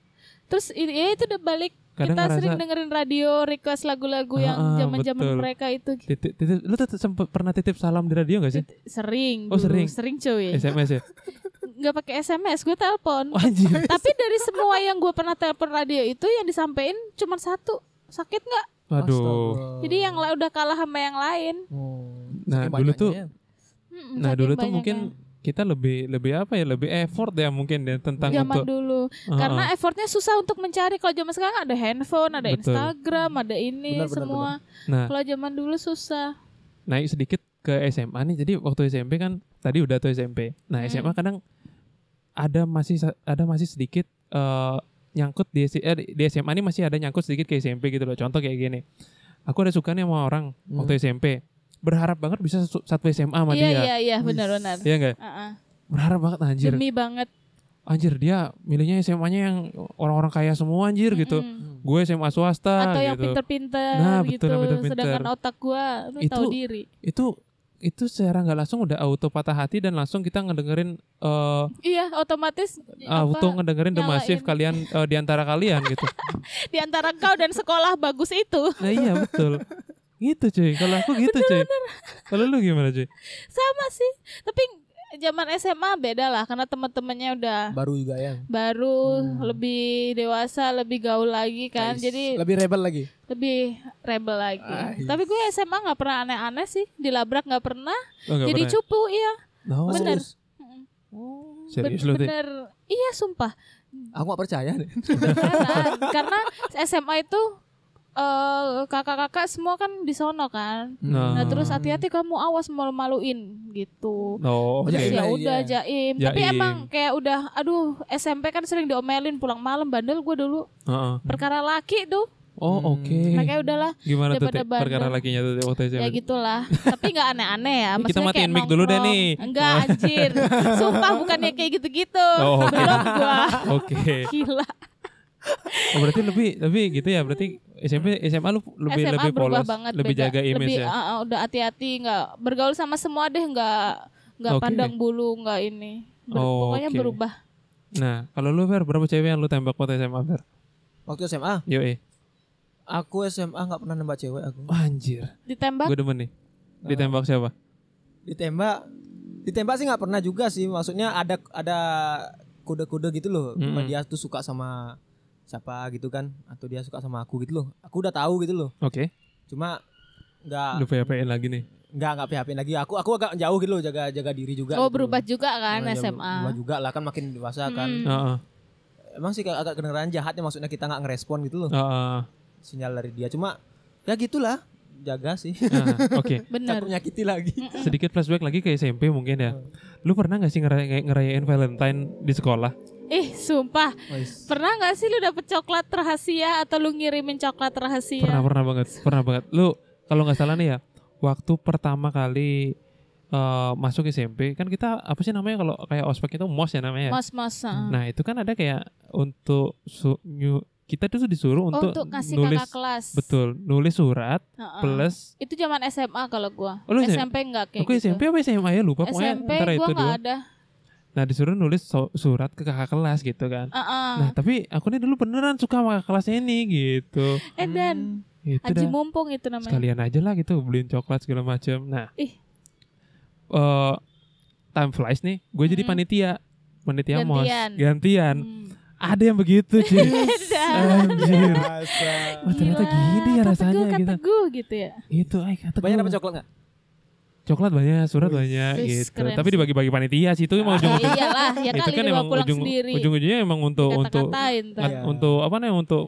Speaker 3: terus ini ya itu udah balik
Speaker 1: Kadang
Speaker 3: kita
Speaker 1: ngerasa-
Speaker 3: sering dengerin radio request lagu-lagu yang
Speaker 1: Ah, ah,
Speaker 3: zaman-zaman
Speaker 1: betul.
Speaker 3: mereka itu gitu.
Speaker 1: Titip, titip- lu tuh sempet pernah titip salam di radio gak sih?
Speaker 3: sering
Speaker 1: Oh,
Speaker 3: dulu,
Speaker 1: sering.
Speaker 3: sering cuy
Speaker 1: SMS ya?
Speaker 3: nggak pakai SMS gue telepon
Speaker 1: Wah, anjir.
Speaker 3: tapi dari semua yang gue pernah telepon radio itu yang disampaikan cuma satu sakit nggak
Speaker 1: Waduh.
Speaker 2: Astaga.
Speaker 3: Jadi
Speaker 1: Oh.
Speaker 3: yang la- udah kalah sama yang lain.
Speaker 2: Oh,
Speaker 1: Nah,
Speaker 2: saking
Speaker 1: dulu tuh-
Speaker 2: banyaknya ya.
Speaker 3: Mm-mm,
Speaker 1: Nah
Speaker 3: saking
Speaker 1: dulu tuh
Speaker 3: banyaknya.
Speaker 1: mungkin kita lebih lebih apa ya lebih effort ya mungkin ya tentang
Speaker 3: zaman
Speaker 1: untuk
Speaker 3: dulu
Speaker 1: Heeh.
Speaker 3: Iya, karena effortnya susah untuk mencari kalau zaman sekarang ada handphone, ada
Speaker 1: Betul.
Speaker 3: Instagram, ada ini
Speaker 2: Benar, benar,
Speaker 3: semua.
Speaker 1: Nah
Speaker 3: Kalau zaman dulu susah.
Speaker 1: naik sedikit ke SMA nih. Jadi waktu SMP kan tadi udah tuh SMP. Nah
Speaker 3: Hmm.
Speaker 1: SMA kadang ada masih sa- ada masih sedikit eh, nyangkut di, S- eh, di SMA nih masih ada nyangkut sedikit ke SMP gitu loh. Contoh kayak gini. Aku ada suka nih sama orang waktu SMP. Berharap banget bisa satu satu SMA sama
Speaker 3: Iya
Speaker 1: dia.
Speaker 3: iya iya benar-benar.
Speaker 1: Iya enggak?
Speaker 3: Heeh.
Speaker 1: Berharap banget anjir.
Speaker 3: Demi banget.
Speaker 1: Anjir dia milihnya SMA-nya yang orang-orang kaya semua anjir gitu.
Speaker 3: Mm-mm.
Speaker 1: Gue SMA swasta
Speaker 3: Atau yang
Speaker 1: gitu.
Speaker 3: pinter-pinter
Speaker 1: Nah, betul,
Speaker 3: gitu.
Speaker 1: yang pinter-pinter.
Speaker 3: Sedangkan otak gua lu tahu
Speaker 1: Itu-
Speaker 3: diri.
Speaker 1: Itu itu secara nggak langsung udah auto patah hati dan langsung kita ngedengerin eh
Speaker 3: Iya, otomatis
Speaker 1: Ah,
Speaker 3: apa,
Speaker 1: untung ngedengerin The
Speaker 3: nyalain.
Speaker 1: Massive kalian eh, di antara kalian gitu.
Speaker 3: di antara kau dan sekolah bagus itu
Speaker 1: Nah iya betul. Gitu cuy. Kalau aku gitu cuy. Kalau lu gimana cuy?
Speaker 3: sama sih. Tapi zaman SMA beda lah karena teman-temannya udah
Speaker 2: baru juga ya.
Speaker 3: baru
Speaker 1: Hmm.
Speaker 3: lebih dewasa lebih gaul lagi kan
Speaker 2: Guys,
Speaker 3: jadi
Speaker 2: lebih rebel lagi.
Speaker 3: lebih rebel lagi
Speaker 1: Ah, iya.
Speaker 3: tapi gue SMA nggak pernah aneh-aneh sih dilabrak nggak pernah
Speaker 1: Oh, nggak
Speaker 3: jadi
Speaker 1: pernah.
Speaker 3: cupu iya
Speaker 1: No.
Speaker 3: Bener.
Speaker 2: Oh,
Speaker 1: Serius
Speaker 2: Serius?
Speaker 1: lu tuh.
Speaker 3: bener iya sumpah
Speaker 2: Aku gak percaya deh.
Speaker 3: Beneran. karena SMA itu eh, kakak-kakak semua kan di sono kan
Speaker 2: Hmm.
Speaker 3: nah
Speaker 1: Hmm.
Speaker 3: terus hati-hati kamu awas malu-maluin gitu
Speaker 1: No. Oke.
Speaker 2: Iya,
Speaker 3: Terus
Speaker 2: iya,
Speaker 3: ya udah
Speaker 2: iya.
Speaker 3: jaim. Tapi
Speaker 1: Jaim.
Speaker 3: emang kayak udah aduh SMP kan sering diomelin pulang malam bandel gue dulu
Speaker 1: Heeh.
Speaker 3: perkara laki tuh.
Speaker 1: Oh oke.
Speaker 3: Hmm. Makanya udahlah
Speaker 1: Gimana tuh
Speaker 3: daripada
Speaker 1: Teh, perkara
Speaker 3: bandel.
Speaker 1: lakinya tuh Teh, waktu
Speaker 3: ya
Speaker 1: SMA?
Speaker 3: gitulah. Tapi nggak aneh-aneh ya.
Speaker 1: Ini kita
Speaker 3: Maksudnya
Speaker 1: matiin
Speaker 3: kayak
Speaker 1: mic dulu deh
Speaker 3: nongkrong.
Speaker 1: nih.
Speaker 3: Enggak anjir. Sumpah bukannya kayak gitu-gitu.
Speaker 1: Oh, oke.
Speaker 3: Belum gua.
Speaker 1: Oke.
Speaker 3: Gila.
Speaker 1: Oh, berarti lebih lebih gitu ya. Berarti SMP SMA lu lebih
Speaker 3: SMA
Speaker 1: lebih
Speaker 3: berubah
Speaker 1: polos,
Speaker 3: banget.
Speaker 1: lebih
Speaker 3: beda.
Speaker 1: jaga image
Speaker 3: Lebih,
Speaker 1: ya.
Speaker 3: uh, uh, udah hati-hati nggak bergaul sama semua deh nggak nggak
Speaker 1: Oke.
Speaker 3: pandang bulu nggak ini. Ber-
Speaker 1: Oh,
Speaker 3: pokoknya
Speaker 1: oke.
Speaker 3: berubah.
Speaker 1: Nah, kalau lu Fer, berapa cewek yang lu tembak waktu SMA Fer?
Speaker 2: Waktu SMA,
Speaker 1: Yo eh.
Speaker 2: aku SMA nggak pernah nembak cewek aku.
Speaker 1: Oh, Anjir.
Speaker 3: Ditembak
Speaker 1: Gue demen nih. Ditembak siapa?
Speaker 2: Ditembak, ditembak sih nggak pernah juga sih. Maksudnya ada ada kode-kode gitu loh.
Speaker 1: Mm-mm.
Speaker 2: Dia tuh suka sama siapa gitu kan, atau dia suka sama aku gitu loh. Aku udah tahu gitu loh.
Speaker 1: Oke.
Speaker 2: Cuma
Speaker 1: Ah.
Speaker 2: nggak
Speaker 1: Lu php lagi nih.
Speaker 2: nggak nggak php lagi. Aku aku agak jauh gitu loh jaga jaga diri juga. gitu
Speaker 3: Oh
Speaker 2: loh.
Speaker 3: berubah juga kan
Speaker 2: Nah, ya,
Speaker 3: SMA.
Speaker 2: Berubah juga lah kan makin dewasa kan.
Speaker 3: Mm.
Speaker 1: Heeh.
Speaker 2: Emang sih kayak agak kedengeran jahatnya maksudnya kita nggak ngerespon gitu loh
Speaker 1: Heeh.
Speaker 2: sinyal dari dia. Cuma ya gitulah jaga sih.
Speaker 1: Nah, oke.
Speaker 3: Bener.
Speaker 2: Takut menyakiti lagi.
Speaker 1: Sedikit flashback lagi ke SMP mungkin ya. Lu pernah gak sih ngerayain, ngerayain Valentine di sekolah?
Speaker 3: Ih sumpah.
Speaker 2: Wais.
Speaker 3: Pernah nggak sih lu dapet coklat rahasia atau lu ngirimin coklat rahasia?
Speaker 1: Pernah, pernah banget. Pernah banget. Lu kalau nggak salah nih ya, waktu pertama kali eh, masuk SMP kan kita apa sih namanya kalau kayak ospek itu mos ya namanya. ya?
Speaker 3: Mas-mas. ah.
Speaker 1: Nah, itu kan ada kayak untuk su- nyu- kita tuh disuruh
Speaker 3: Oh,
Speaker 1: untuk,
Speaker 3: untuk kasih
Speaker 1: nulis
Speaker 3: kakak kelas.
Speaker 1: betul, nulis surat
Speaker 3: Heeh.
Speaker 1: plus
Speaker 3: Itu zaman SMA kalau gua.
Speaker 1: Oh, lu
Speaker 3: SMP enggak Ah. kayak
Speaker 1: Aku
Speaker 3: gitu.
Speaker 1: SMP apa SMA ya lupa pokoknya
Speaker 3: SMP
Speaker 1: antara
Speaker 3: gua
Speaker 1: itu
Speaker 3: nggak
Speaker 1: dua.
Speaker 3: ada.
Speaker 1: Nah, disuruh nulis so- surat ke kakak kelas gitu kan.
Speaker 3: Heeh.
Speaker 1: Nah tapi aku nih dulu beneran suka sama kakak kelasnya ini gitu.
Speaker 3: Eh dan
Speaker 1: Itu
Speaker 3: Aji
Speaker 1: dah.
Speaker 3: mumpung itu namanya.
Speaker 1: Sekalian aja lah gitu beliin coklat segala macam. Nah,
Speaker 3: Ih.
Speaker 1: eh, time flies nih. Gue jadi
Speaker 3: Mm-mm.
Speaker 1: panitia, panitia mos,
Speaker 3: Gantian.
Speaker 1: gantian.
Speaker 3: Hmm.
Speaker 1: Ada yang begitu cuy.
Speaker 3: Ada.
Speaker 1: Anjir.
Speaker 2: Hmm. Biasa.
Speaker 1: Oh, ternyata
Speaker 3: Gila,
Speaker 1: gini ya
Speaker 3: kata
Speaker 1: rasanya
Speaker 3: gue, kata
Speaker 1: gitu.
Speaker 3: gue gitu ya.
Speaker 1: Itu ay kata
Speaker 2: Banyak
Speaker 1: gua.
Speaker 2: dapat coklat nggak?
Speaker 1: Coklat banyak, surat banyak
Speaker 3: Wis,
Speaker 1: gitu.
Speaker 3: keren
Speaker 1: Tapi
Speaker 3: sih.
Speaker 1: dibagi-bagi panitia sih itu emang ujung
Speaker 3: Ya iyalah, ya
Speaker 1: itu
Speaker 3: kali
Speaker 1: kan
Speaker 3: dibawa
Speaker 1: emang
Speaker 3: pulang
Speaker 1: ujung
Speaker 3: sendiri.
Speaker 1: ujung-ujungnya emang untuk untuk
Speaker 3: Kata-katain ntar.
Speaker 1: an-
Speaker 2: Iya.
Speaker 1: untuk apa namanya untuk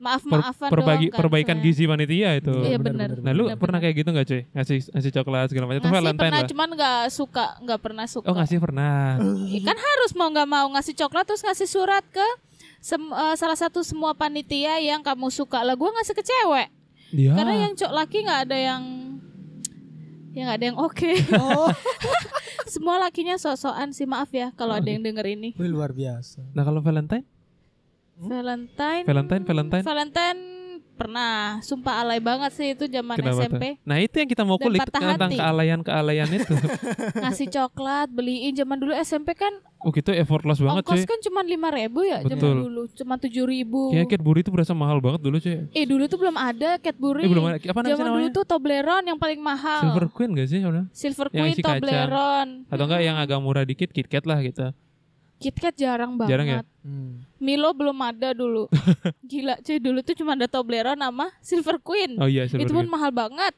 Speaker 3: Maaf
Speaker 1: per-
Speaker 3: maafan
Speaker 1: perbagi
Speaker 3: doang kan,
Speaker 1: perbaikan
Speaker 3: soalnya.
Speaker 1: gizi panitia itu.
Speaker 3: Iya
Speaker 2: Benar,
Speaker 3: benar.
Speaker 2: benar,
Speaker 1: Nah, lu
Speaker 3: Benar,
Speaker 1: pernah
Speaker 3: benar.
Speaker 1: kayak gitu nggak cuy? Ngasih ngasih coklat segala macam. Itu
Speaker 3: ngasih
Speaker 1: Valentine
Speaker 3: pernah
Speaker 1: lah.
Speaker 3: cuman nggak suka nggak pernah suka
Speaker 1: Oh, ngasih pernah.
Speaker 3: Ih, kan harus mau nggak mau ngasih coklat terus ngasih surat ke sem- eh, salah satu semua panitia yang kamu suka lah gue ngasih ke cewek
Speaker 1: Dia.
Speaker 3: karena yang cok laki nggak ada yang ya nggak ada yang oke
Speaker 2: Oh,
Speaker 3: semua lakinya sosokan sih maaf ya kalau ada yang denger ini
Speaker 2: Wih, luar biasa.
Speaker 1: Nah, kalau Valentine?
Speaker 3: Valentine
Speaker 1: Hmm? Valentine, Valentine.
Speaker 3: Valentine pernah sumpah alay banget sih itu zaman
Speaker 1: Kenapa
Speaker 3: SMP
Speaker 1: tuh? Nah, itu yang kita mau
Speaker 3: Dan
Speaker 1: kulik
Speaker 3: patah
Speaker 1: tentang
Speaker 3: hati.
Speaker 1: kealayan-kealayan itu.
Speaker 3: ngasih coklat beliin zaman dulu SMP kan
Speaker 1: oh, gitu effortless banget
Speaker 3: ongkos
Speaker 1: cuy.
Speaker 3: kan cuma lima ribu ya zaman
Speaker 1: Betul. Iya,
Speaker 3: dulu cuma tujuh ribu
Speaker 1: Kayaknya Cadbury itu berasa mahal banget dulu cuy.
Speaker 3: eh dulu tuh belum ada Cadbury
Speaker 1: Eh, belum ada. Apa namanya?
Speaker 3: zaman dulu tuh Toblerone yang paling mahal
Speaker 1: Silver Queen gak sih sebenarnya?
Speaker 3: Silver
Speaker 1: Yang
Speaker 3: Queen
Speaker 1: isi kacang.
Speaker 3: Toblerone
Speaker 1: Atau enggak yang agak murah dikit KitKat lah gitu.
Speaker 3: KitKat jarang banget
Speaker 1: Jarang ya?
Speaker 2: Hmm.
Speaker 3: Milo belum ada dulu gila cuy dulu tuh cuma ada Toblerone sama Silver Queen
Speaker 1: Oh iya, Silver
Speaker 3: itu pun
Speaker 1: Queen. Oh,
Speaker 3: mahal banget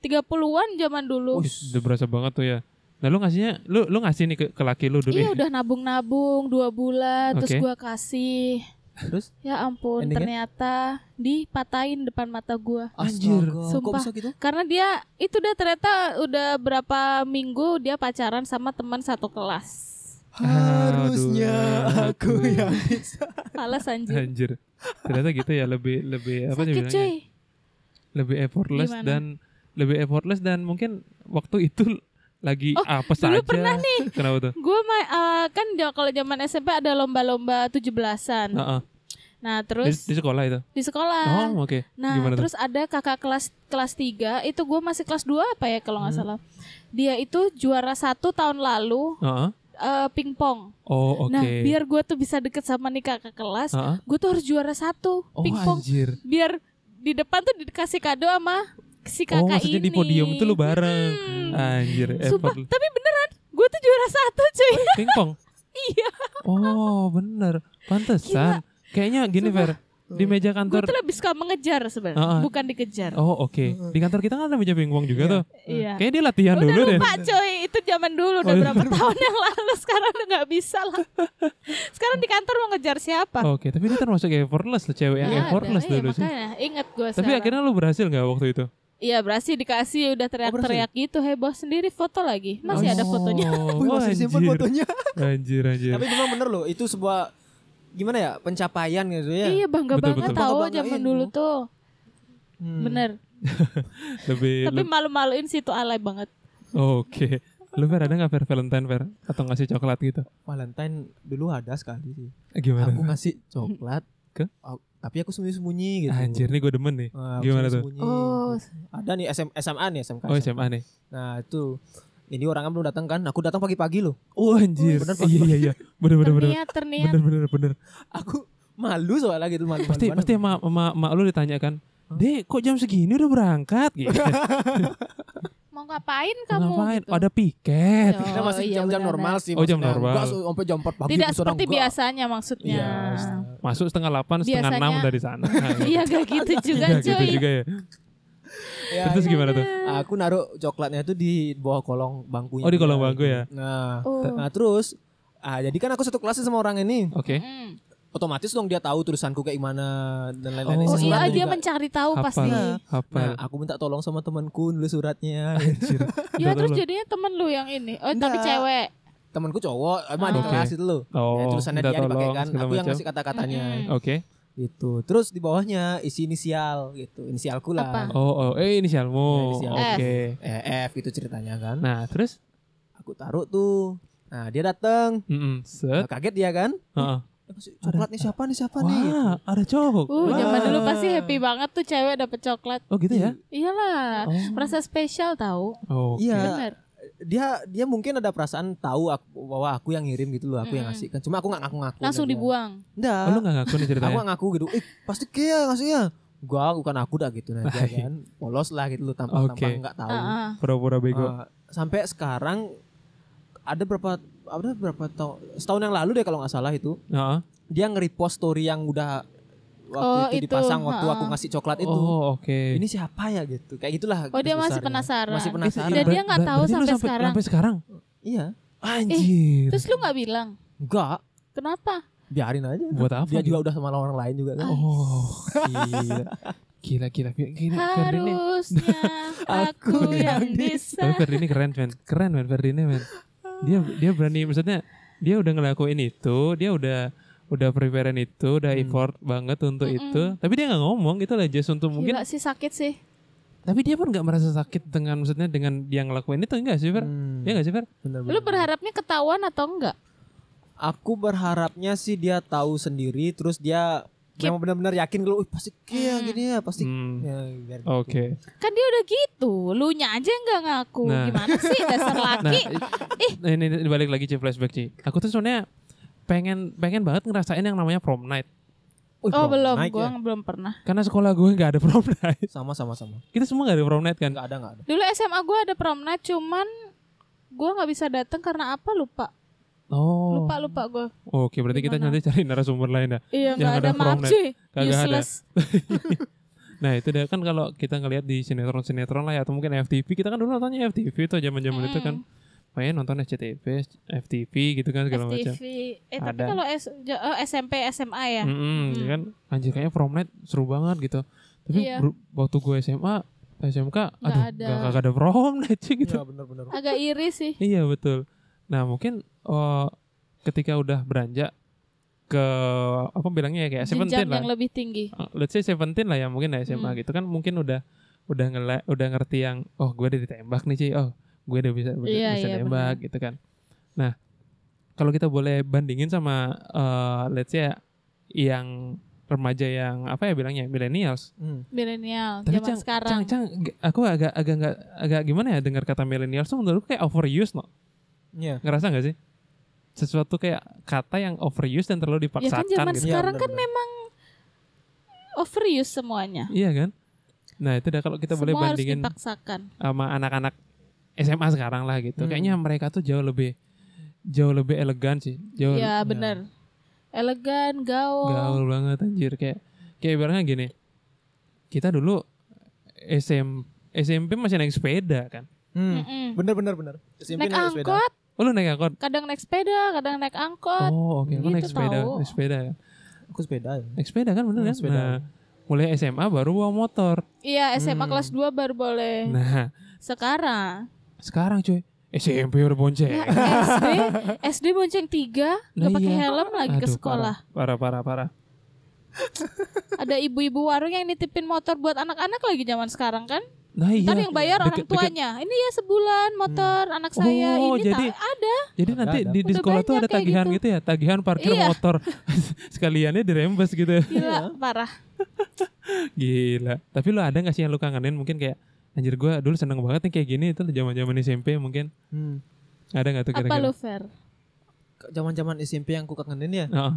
Speaker 3: 30-an zaman dulu
Speaker 1: Udah berasa banget tuh ya. Nah, lu ngasihnya lu lu ngasih nih ke, ke laki lu dulu.
Speaker 3: Iya
Speaker 1: ya?
Speaker 3: udah nabung-nabung dua bulan
Speaker 1: Oke.
Speaker 3: terus gua kasih
Speaker 2: Terus?
Speaker 3: ya ampun
Speaker 2: Endingnya?
Speaker 3: ternyata dipatahin depan mata gua
Speaker 1: Anjir.
Speaker 2: Astaga, Kok
Speaker 3: Sumpah.
Speaker 2: bisa gitu?
Speaker 3: Karena dia itu udah ternyata udah berapa minggu dia pacaran sama teman satu kelas.
Speaker 2: Harusnya aku yang bisa.
Speaker 3: Pales anjir.
Speaker 1: Anjir. Ternyata gitu ya lebih lebih apa sih
Speaker 3: Sakit
Speaker 1: bilangnya?
Speaker 3: cuy.
Speaker 1: Lebih effortless
Speaker 3: Gimana?
Speaker 1: dan lebih effortless dan mungkin waktu itu lagi
Speaker 3: Oh,
Speaker 1: apa saja.
Speaker 3: dulu pernah nih.
Speaker 1: Kenapa tuh?
Speaker 3: Gue kan ja- kalau zaman SMP ada lomba-lomba 17-an.
Speaker 1: Heeh.
Speaker 3: Nah,
Speaker 1: Di,
Speaker 3: terus
Speaker 1: di sekolah itu.
Speaker 3: di sekolah.
Speaker 1: Oh, oke.
Speaker 3: Nah,
Speaker 1: Gimana tuh?
Speaker 3: terus ada kakak kelas kelas 3, itu gue masih kelas 2 apa ya kalau nggak
Speaker 1: Hmm.
Speaker 3: salah. Dia itu juara satu tahun lalu
Speaker 1: Heeh.
Speaker 3: eh, pingpong.
Speaker 1: Oh, oke.
Speaker 3: Nah, biar gue tuh bisa deket sama nih kakak kelas,
Speaker 1: Heeh.
Speaker 3: gue tuh harus juara satu
Speaker 1: Oh,
Speaker 3: pingpong.
Speaker 1: anjir.
Speaker 3: biar di depan tuh dikasih kado sama si kakak
Speaker 1: oh, maksudnya
Speaker 3: ini.
Speaker 1: di podium tuh lu bareng.
Speaker 3: Hmm.
Speaker 1: Anjir,
Speaker 3: Sumpah,
Speaker 1: effortless.
Speaker 3: tapi beneran gue tuh juara satu cuy.
Speaker 1: Pingpong.
Speaker 3: iya,
Speaker 1: Oh, bener. Pantesan. Kayaknya gini, Fer. Di meja
Speaker 3: gue
Speaker 1: kantor.
Speaker 3: tuh lebih suka mengejar sebenarnya,
Speaker 1: Ah, ah.
Speaker 3: bukan dikejar.
Speaker 1: Oh, oke. Di kantor kita kan ada meja pingpong juga tuh.
Speaker 3: Iya.
Speaker 1: Kayaknya dia latihan
Speaker 3: Udah
Speaker 1: dulu deh.
Speaker 3: lupa cuy, itu zaman dulu udah
Speaker 1: Oh, iya.
Speaker 3: berapa tahun yang lalu sekarang udah nggak bisa lah. Sekarang di kantor mau ngejar siapa?
Speaker 1: Oke, tapi dia termasuk effortless loh, cewek yang
Speaker 3: Nggak ada.
Speaker 1: effortless
Speaker 3: Iya,
Speaker 1: dulu sih.
Speaker 3: makanya inget gue
Speaker 1: Tapi akhirnya lu berhasil nggak waktu itu?
Speaker 3: Iya berhasil dikasih udah teriak-teriak gitu heboh sendiri foto lagi masih Iya, ada fotonya
Speaker 1: Oh,
Speaker 2: Wih, masih disimpan
Speaker 1: anjir.
Speaker 2: fotonya.
Speaker 1: Anjir, anjir.
Speaker 2: Tapi memang bener loh, itu sebuah gimana ya pencapaian gitu ya.
Speaker 3: iya bangga
Speaker 1: Betul,
Speaker 3: banget iya.
Speaker 1: betul.
Speaker 3: tahu
Speaker 2: Bangga-banggain
Speaker 3: zaman dulu
Speaker 2: lu.
Speaker 3: tuh
Speaker 2: Hmm.
Speaker 3: bener
Speaker 1: Lebih,
Speaker 3: tapi
Speaker 1: leb-
Speaker 3: malu-maluin sih itu alay banget
Speaker 1: oke. Lu Fer ada nggak Fer Valentine Fer atau ngasih coklat gitu?
Speaker 2: Valentine dulu ada sekali sih.
Speaker 1: Eh, Gimana?
Speaker 2: Aku ngasih coklat
Speaker 1: Ke?
Speaker 2: aku- tapi aku sembunyi-sembunyi gitu.
Speaker 1: Anjir, nih gue demen nih.
Speaker 2: Nah, aku
Speaker 1: Gimana tuh?
Speaker 2: sembunyi-sembunyi. gitu.
Speaker 3: Oh.
Speaker 2: Ada nih SM, SMA nih SMK.
Speaker 1: Oh SMA nih.
Speaker 2: Nah, itu ini orangnya belum datang kan? Aku datang pagi-pagi loh.
Speaker 1: Oh anjir.
Speaker 2: Bener,
Speaker 1: iya iya iya. Bener bener bener.
Speaker 3: terniat terniat
Speaker 1: Bener bener bener.
Speaker 2: Aku malu soalnya gitu malu.
Speaker 1: Pasti pasti emak emak emak lu ditanya kan. Dek, kok jam segini udah berangkat gitu.
Speaker 3: mau ngapain kamu
Speaker 1: Ngapain?
Speaker 3: gitu.
Speaker 1: Oh, ada piket.
Speaker 3: Yo,
Speaker 2: Nah, masih
Speaker 3: iya,
Speaker 2: jam-jam
Speaker 3: benar-benar.
Speaker 2: normal sih.
Speaker 1: Oh, jam
Speaker 2: maksudnya.
Speaker 1: normal.
Speaker 2: Enggak su- sampai jam 4 pagi.
Speaker 3: tidak
Speaker 2: aku sana
Speaker 3: seperti
Speaker 2: enggak.
Speaker 3: biasanya maksudnya
Speaker 2: Iya.
Speaker 1: Masuk setengah delapan, setengah
Speaker 3: Biasanya-
Speaker 1: enam dari sana. Nah,
Speaker 3: iya gak gitu juga
Speaker 1: Iya,
Speaker 3: cuy
Speaker 1: gitu juga ya.
Speaker 2: Ya,
Speaker 1: Terus gimana tuh?
Speaker 2: aku naruh coklatnya tuh di bawah kolong bangkunya.
Speaker 1: Oh, di kolong
Speaker 2: dia.
Speaker 1: bangku ya?
Speaker 2: Nah,
Speaker 3: Oh.
Speaker 2: nah terus ah jadi kan aku satu kelas sama orang ini.
Speaker 1: Oke.
Speaker 3: Mm.
Speaker 2: Otomatis dong dia tahu tulisanku kayak gimana dan lain-lain.
Speaker 1: Oh,
Speaker 3: oh
Speaker 2: Isi
Speaker 3: iya
Speaker 2: suratnya
Speaker 3: dia
Speaker 2: juga.
Speaker 3: mencari tahu
Speaker 1: Hafal.
Speaker 3: pasti Iya,
Speaker 1: Hafal.
Speaker 2: Nah, aku minta tolong sama temanku nulis suratnya.
Speaker 1: Anjir.
Speaker 3: ya
Speaker 1: Minta
Speaker 3: terus
Speaker 1: tolong.
Speaker 3: jadinya temen lu yang ini oh tapi
Speaker 2: Enggak.
Speaker 3: cewek
Speaker 2: temanku cowok, emang di
Speaker 1: Oke.
Speaker 2: kelas itu loh. Ya,
Speaker 1: Oh,
Speaker 2: tulisannya
Speaker 1: minta
Speaker 2: dia dipakai
Speaker 1: tolong,
Speaker 2: kan.
Speaker 1: segala
Speaker 2: Aku yang
Speaker 1: macam.
Speaker 2: ngasih kata-katanya
Speaker 3: Mm-mm.
Speaker 1: Oke.
Speaker 2: gitu. Terus di bawahnya isi inisial gitu, inisialku lah.
Speaker 3: Apa?
Speaker 1: Oh, oh, eh inisialmu.
Speaker 2: Inisial.
Speaker 1: Oke.
Speaker 2: Eh, F gitu ceritanya kan.
Speaker 1: Nah, terus
Speaker 2: Aku taruh tuh. Nah, dia datang.
Speaker 1: Mm-mm.
Speaker 2: Nah,
Speaker 1: set.
Speaker 2: kaget dia kan.
Speaker 1: Heeh.
Speaker 2: Eh, masih Coklat nih siapa nih siapa nih?
Speaker 1: Wah, ada cowok.
Speaker 3: uh zaman
Speaker 2: Wah.
Speaker 3: dulu Iya. pasti happy banget tuh cewek dapet coklat
Speaker 1: Oh, gitu ya?
Speaker 3: iyalah merasa spesial tahu
Speaker 1: Oh. Oke.
Speaker 2: Iya.
Speaker 3: bener
Speaker 2: Dia dia mungkin ada perasaan tahu aku, bahwa aku yang ngirim gitu loh, aku yang
Speaker 3: Mm.
Speaker 2: ngasih kan. Cuma aku nggak ngaku-ngaku.
Speaker 3: langsung
Speaker 1: Oh,
Speaker 3: dibuang
Speaker 1: lu
Speaker 2: Enggak.
Speaker 1: gak ngaku nih
Speaker 2: Aku
Speaker 1: ceritanya?
Speaker 2: nggak ngaku gitu. Eh, pasti Kia ngasihnya. gua bukan aku dah gitu nah dia kan polos lah gitu lu tampang tampang
Speaker 1: Oke.
Speaker 2: nggak tahu
Speaker 3: Heeh.
Speaker 1: pura-pura bego
Speaker 2: Eh, sampai sekarang ada berapa ada berapa tahun setahun yang lalu deh kalau nggak salah itu
Speaker 1: Heeh.
Speaker 2: dia nge-repost story yang udah waktu
Speaker 3: Oh,
Speaker 2: itu,
Speaker 3: itu,
Speaker 2: dipasang waktu aku
Speaker 3: ha-ha.
Speaker 2: ngasih coklat itu
Speaker 1: oh oke
Speaker 2: ini siapa ya gitu kayak gitulah
Speaker 3: Oh, dia
Speaker 2: garis
Speaker 3: masih
Speaker 2: besarnya.
Speaker 3: penasaran.
Speaker 2: ya. masih
Speaker 1: Eh,
Speaker 2: penasaran
Speaker 3: Dan
Speaker 1: ber-
Speaker 3: dia nggak
Speaker 1: ber-
Speaker 3: tahu
Speaker 1: berarti lu
Speaker 3: sampai sekarang. Eh,
Speaker 1: sampai sekarang
Speaker 2: iya Eh.
Speaker 1: anjir
Speaker 3: Terus lu nggak bilang?
Speaker 2: enggak
Speaker 3: Kenapa?
Speaker 2: biarin aja
Speaker 1: buat apa
Speaker 2: dia
Speaker 1: gitu?
Speaker 2: juga udah sama orang lain juga kan
Speaker 1: oh gila gila gila gila, gila. Ferdi ini-
Speaker 3: Harusnya aku yang
Speaker 1: Tapi
Speaker 3: bisa.
Speaker 1: Ferdi ini keren men, keren men Ferdi ini men. Dia dia berani maksudnya dia udah ngelakuin itu, dia udah udah preparean itu, udah effort banget untuk itu. Tapi dia nggak ngomong gitu lah just untuk mungkin.
Speaker 3: Gila sih sakit sih.
Speaker 1: Tapi dia pun nggak merasa sakit dengan maksudnya dengan dia ngelakuin itu enggak sih Fer?
Speaker 2: Hmm,
Speaker 1: Ya enggak sih Fer?
Speaker 2: bener,
Speaker 3: Lu berharapnya ketahuan atau enggak?
Speaker 2: aku berharapnya sih dia tahu sendiri terus dia memang benar-benar yakin kalau "Wih, pasti kayak gini ya pasti
Speaker 1: Hmm,
Speaker 2: ya, biar gitu.
Speaker 1: Oke.
Speaker 3: Kan dia udah gitu. Lu nya aja enggak ngaku.
Speaker 1: Nah.
Speaker 3: Gimana sih dasar
Speaker 1: Nah,
Speaker 3: laki?
Speaker 1: ini, ini ini balik lagi Ci flashback Ci. Aku tuh sebenarnya pengen pengen banget ngerasain yang namanya prom night.
Speaker 2: Wih,
Speaker 3: oh,
Speaker 2: bro,
Speaker 3: belum.
Speaker 2: naik ya.
Speaker 3: Gua belum pernah.
Speaker 1: Karena sekolah gue nggak ada prom night.
Speaker 2: sama sama sama
Speaker 1: Kita semua nggak ada prom night kan?
Speaker 2: nggak ada nggak ada
Speaker 3: Dulu SMA gua ada prom night cuman gua nggak bisa datang karena apa lupa.
Speaker 1: Oh.
Speaker 3: Lupa lupa gua.
Speaker 1: Oke, berarti kita
Speaker 3: Gimana?
Speaker 1: nanti cari narasumber lain ya. dah.
Speaker 3: Iya,
Speaker 1: Yang
Speaker 3: enggak ada,
Speaker 1: ada prom
Speaker 3: maaf
Speaker 1: night.
Speaker 3: cuy.
Speaker 1: Kagak ada.
Speaker 3: Useless.
Speaker 1: Nah itu deh kan kalau kita ngelihat di sinetron-sinetron lah ya atau mungkin FTV kita kan dulu nontonnya FTV tuh zaman-zaman itu kan main nonton SCTV, FTV gitu kan segala macam.
Speaker 3: FTV. Eh, tapi
Speaker 1: Ada.
Speaker 3: kalau S- ja- eh, SMP SMA ya.
Speaker 1: Mm-mm, ya kan anjir kayaknya prom night seru banget gitu. Tapi
Speaker 3: Iya.
Speaker 1: ber- waktu gue SMA, SMK, aduh
Speaker 3: ada.
Speaker 1: gak, kagak ada prom night sih gitu.
Speaker 2: ya benar-benar
Speaker 3: Agak iri sih.
Speaker 1: Iya betul. Nah mungkin eh, ketika udah beranjak ke apa bilangnya ya kayak 17
Speaker 3: Jenjang
Speaker 1: lah.
Speaker 3: yang lebih tinggi.
Speaker 1: Uh, let's say 17 lah ya mungkin lah SMA
Speaker 3: Hmm.
Speaker 1: gitu kan mungkin udah udah ngela, udah ngerti yang oh gue udah ditembak nih Ci oh gue udah bisa udah
Speaker 3: Iya,
Speaker 1: bisa
Speaker 3: iya,
Speaker 1: nembak gitu kan nah kalau kita boleh bandingin sama uh, let's say yang remaja yang apa ya bilangnya millennials
Speaker 2: hmm.
Speaker 3: Milenial
Speaker 1: tapi
Speaker 3: zaman
Speaker 1: cang,
Speaker 3: sekarang.
Speaker 1: cang cang g- aku agak agak nggak agak gimana ya dengar kata millennials tuh menurutku kayak overuse no
Speaker 2: Iya.
Speaker 1: ngerasa nggak sih sesuatu kayak kata yang overuse dan terlalu
Speaker 3: ya kan
Speaker 1: dipaksakan
Speaker 3: zaman
Speaker 1: gitu
Speaker 3: sekarang
Speaker 2: Iya,
Speaker 3: kan memang overuse Oh, semuanya.
Speaker 1: iya kan nah itu dah kalau kita boleh
Speaker 3: Semua harus
Speaker 1: bandingin
Speaker 3: dipaksakan.
Speaker 1: sama anak-anak SMA sekarang lah gitu.
Speaker 2: Hmm.
Speaker 1: Kayaknya mereka tuh jauh lebih jauh lebih elegan sih. Jauh
Speaker 3: Ya benar. Elegan, gaul.
Speaker 1: gaul banget anjir kayak kayak ibaratnya gini. Kita dulu SM SMP masih naik sepeda kan.
Speaker 2: Hmm.
Speaker 3: Mm-mm.
Speaker 2: bener bener bener SMP
Speaker 3: Naik
Speaker 2: naik sepeda.
Speaker 3: angkot,
Speaker 1: Oh lu naik angkot.
Speaker 3: kadang naik sepeda, kadang naik angkot.
Speaker 1: Oh, oke. Lu
Speaker 3: Gitu
Speaker 1: naik sepeda,
Speaker 3: tahu.
Speaker 1: naik sepeda kan.
Speaker 2: aku sepeda ya
Speaker 1: Naik sepeda kan bener
Speaker 2: Naik
Speaker 1: kan?
Speaker 2: sepeda.
Speaker 1: Nah, mulai SMA baru bawa motor.
Speaker 3: Iya, SMA
Speaker 2: Hmm.
Speaker 3: kelas 2 baru boleh.
Speaker 1: Nah,
Speaker 3: Sekarang
Speaker 1: sekarang cuy SMP udah bonceng.
Speaker 3: ya SD, SD bonceng
Speaker 1: Nah,
Speaker 3: 3, nggak pakai
Speaker 1: iya.
Speaker 3: helm lagi ke
Speaker 1: Aduh,
Speaker 3: sekolah.
Speaker 1: Parah, parah, parah. parah.
Speaker 3: Ada ibu-ibu warung yang nitipin motor buat anak-anak lagi zaman sekarang kan?
Speaker 1: Nah, iya.
Speaker 3: Ntar yang bayar orang
Speaker 1: Deket- deket-
Speaker 3: tuanya. Ini ya sebulan motor anak saya
Speaker 1: Oh,
Speaker 3: ini tak
Speaker 1: jadi-
Speaker 3: ada.
Speaker 1: Jadi
Speaker 2: Ada,
Speaker 1: nanti
Speaker 2: ada.
Speaker 1: di, di
Speaker 3: Udah
Speaker 1: sekolah tuh
Speaker 3: banyak
Speaker 1: ada
Speaker 3: kayak
Speaker 1: tagihan
Speaker 3: gitu.
Speaker 1: gitu. ya, tagihan parkir
Speaker 3: Iya.
Speaker 1: motor. Sekaliannya dirembes gitu.
Speaker 3: Gila, parah.
Speaker 1: Gila. Tapi lu ada gak sih yang lu kangenin mungkin kayak anjir gua dulu seneng banget nih kayak gini itu zaman-zaman SMP mungkin.
Speaker 2: hmm.
Speaker 1: Ada gak tuh
Speaker 3: Apa
Speaker 1: kira-kira?
Speaker 3: lu, Fer?
Speaker 2: zaman zaman SMP yang aku kangenin ya
Speaker 1: Heeh.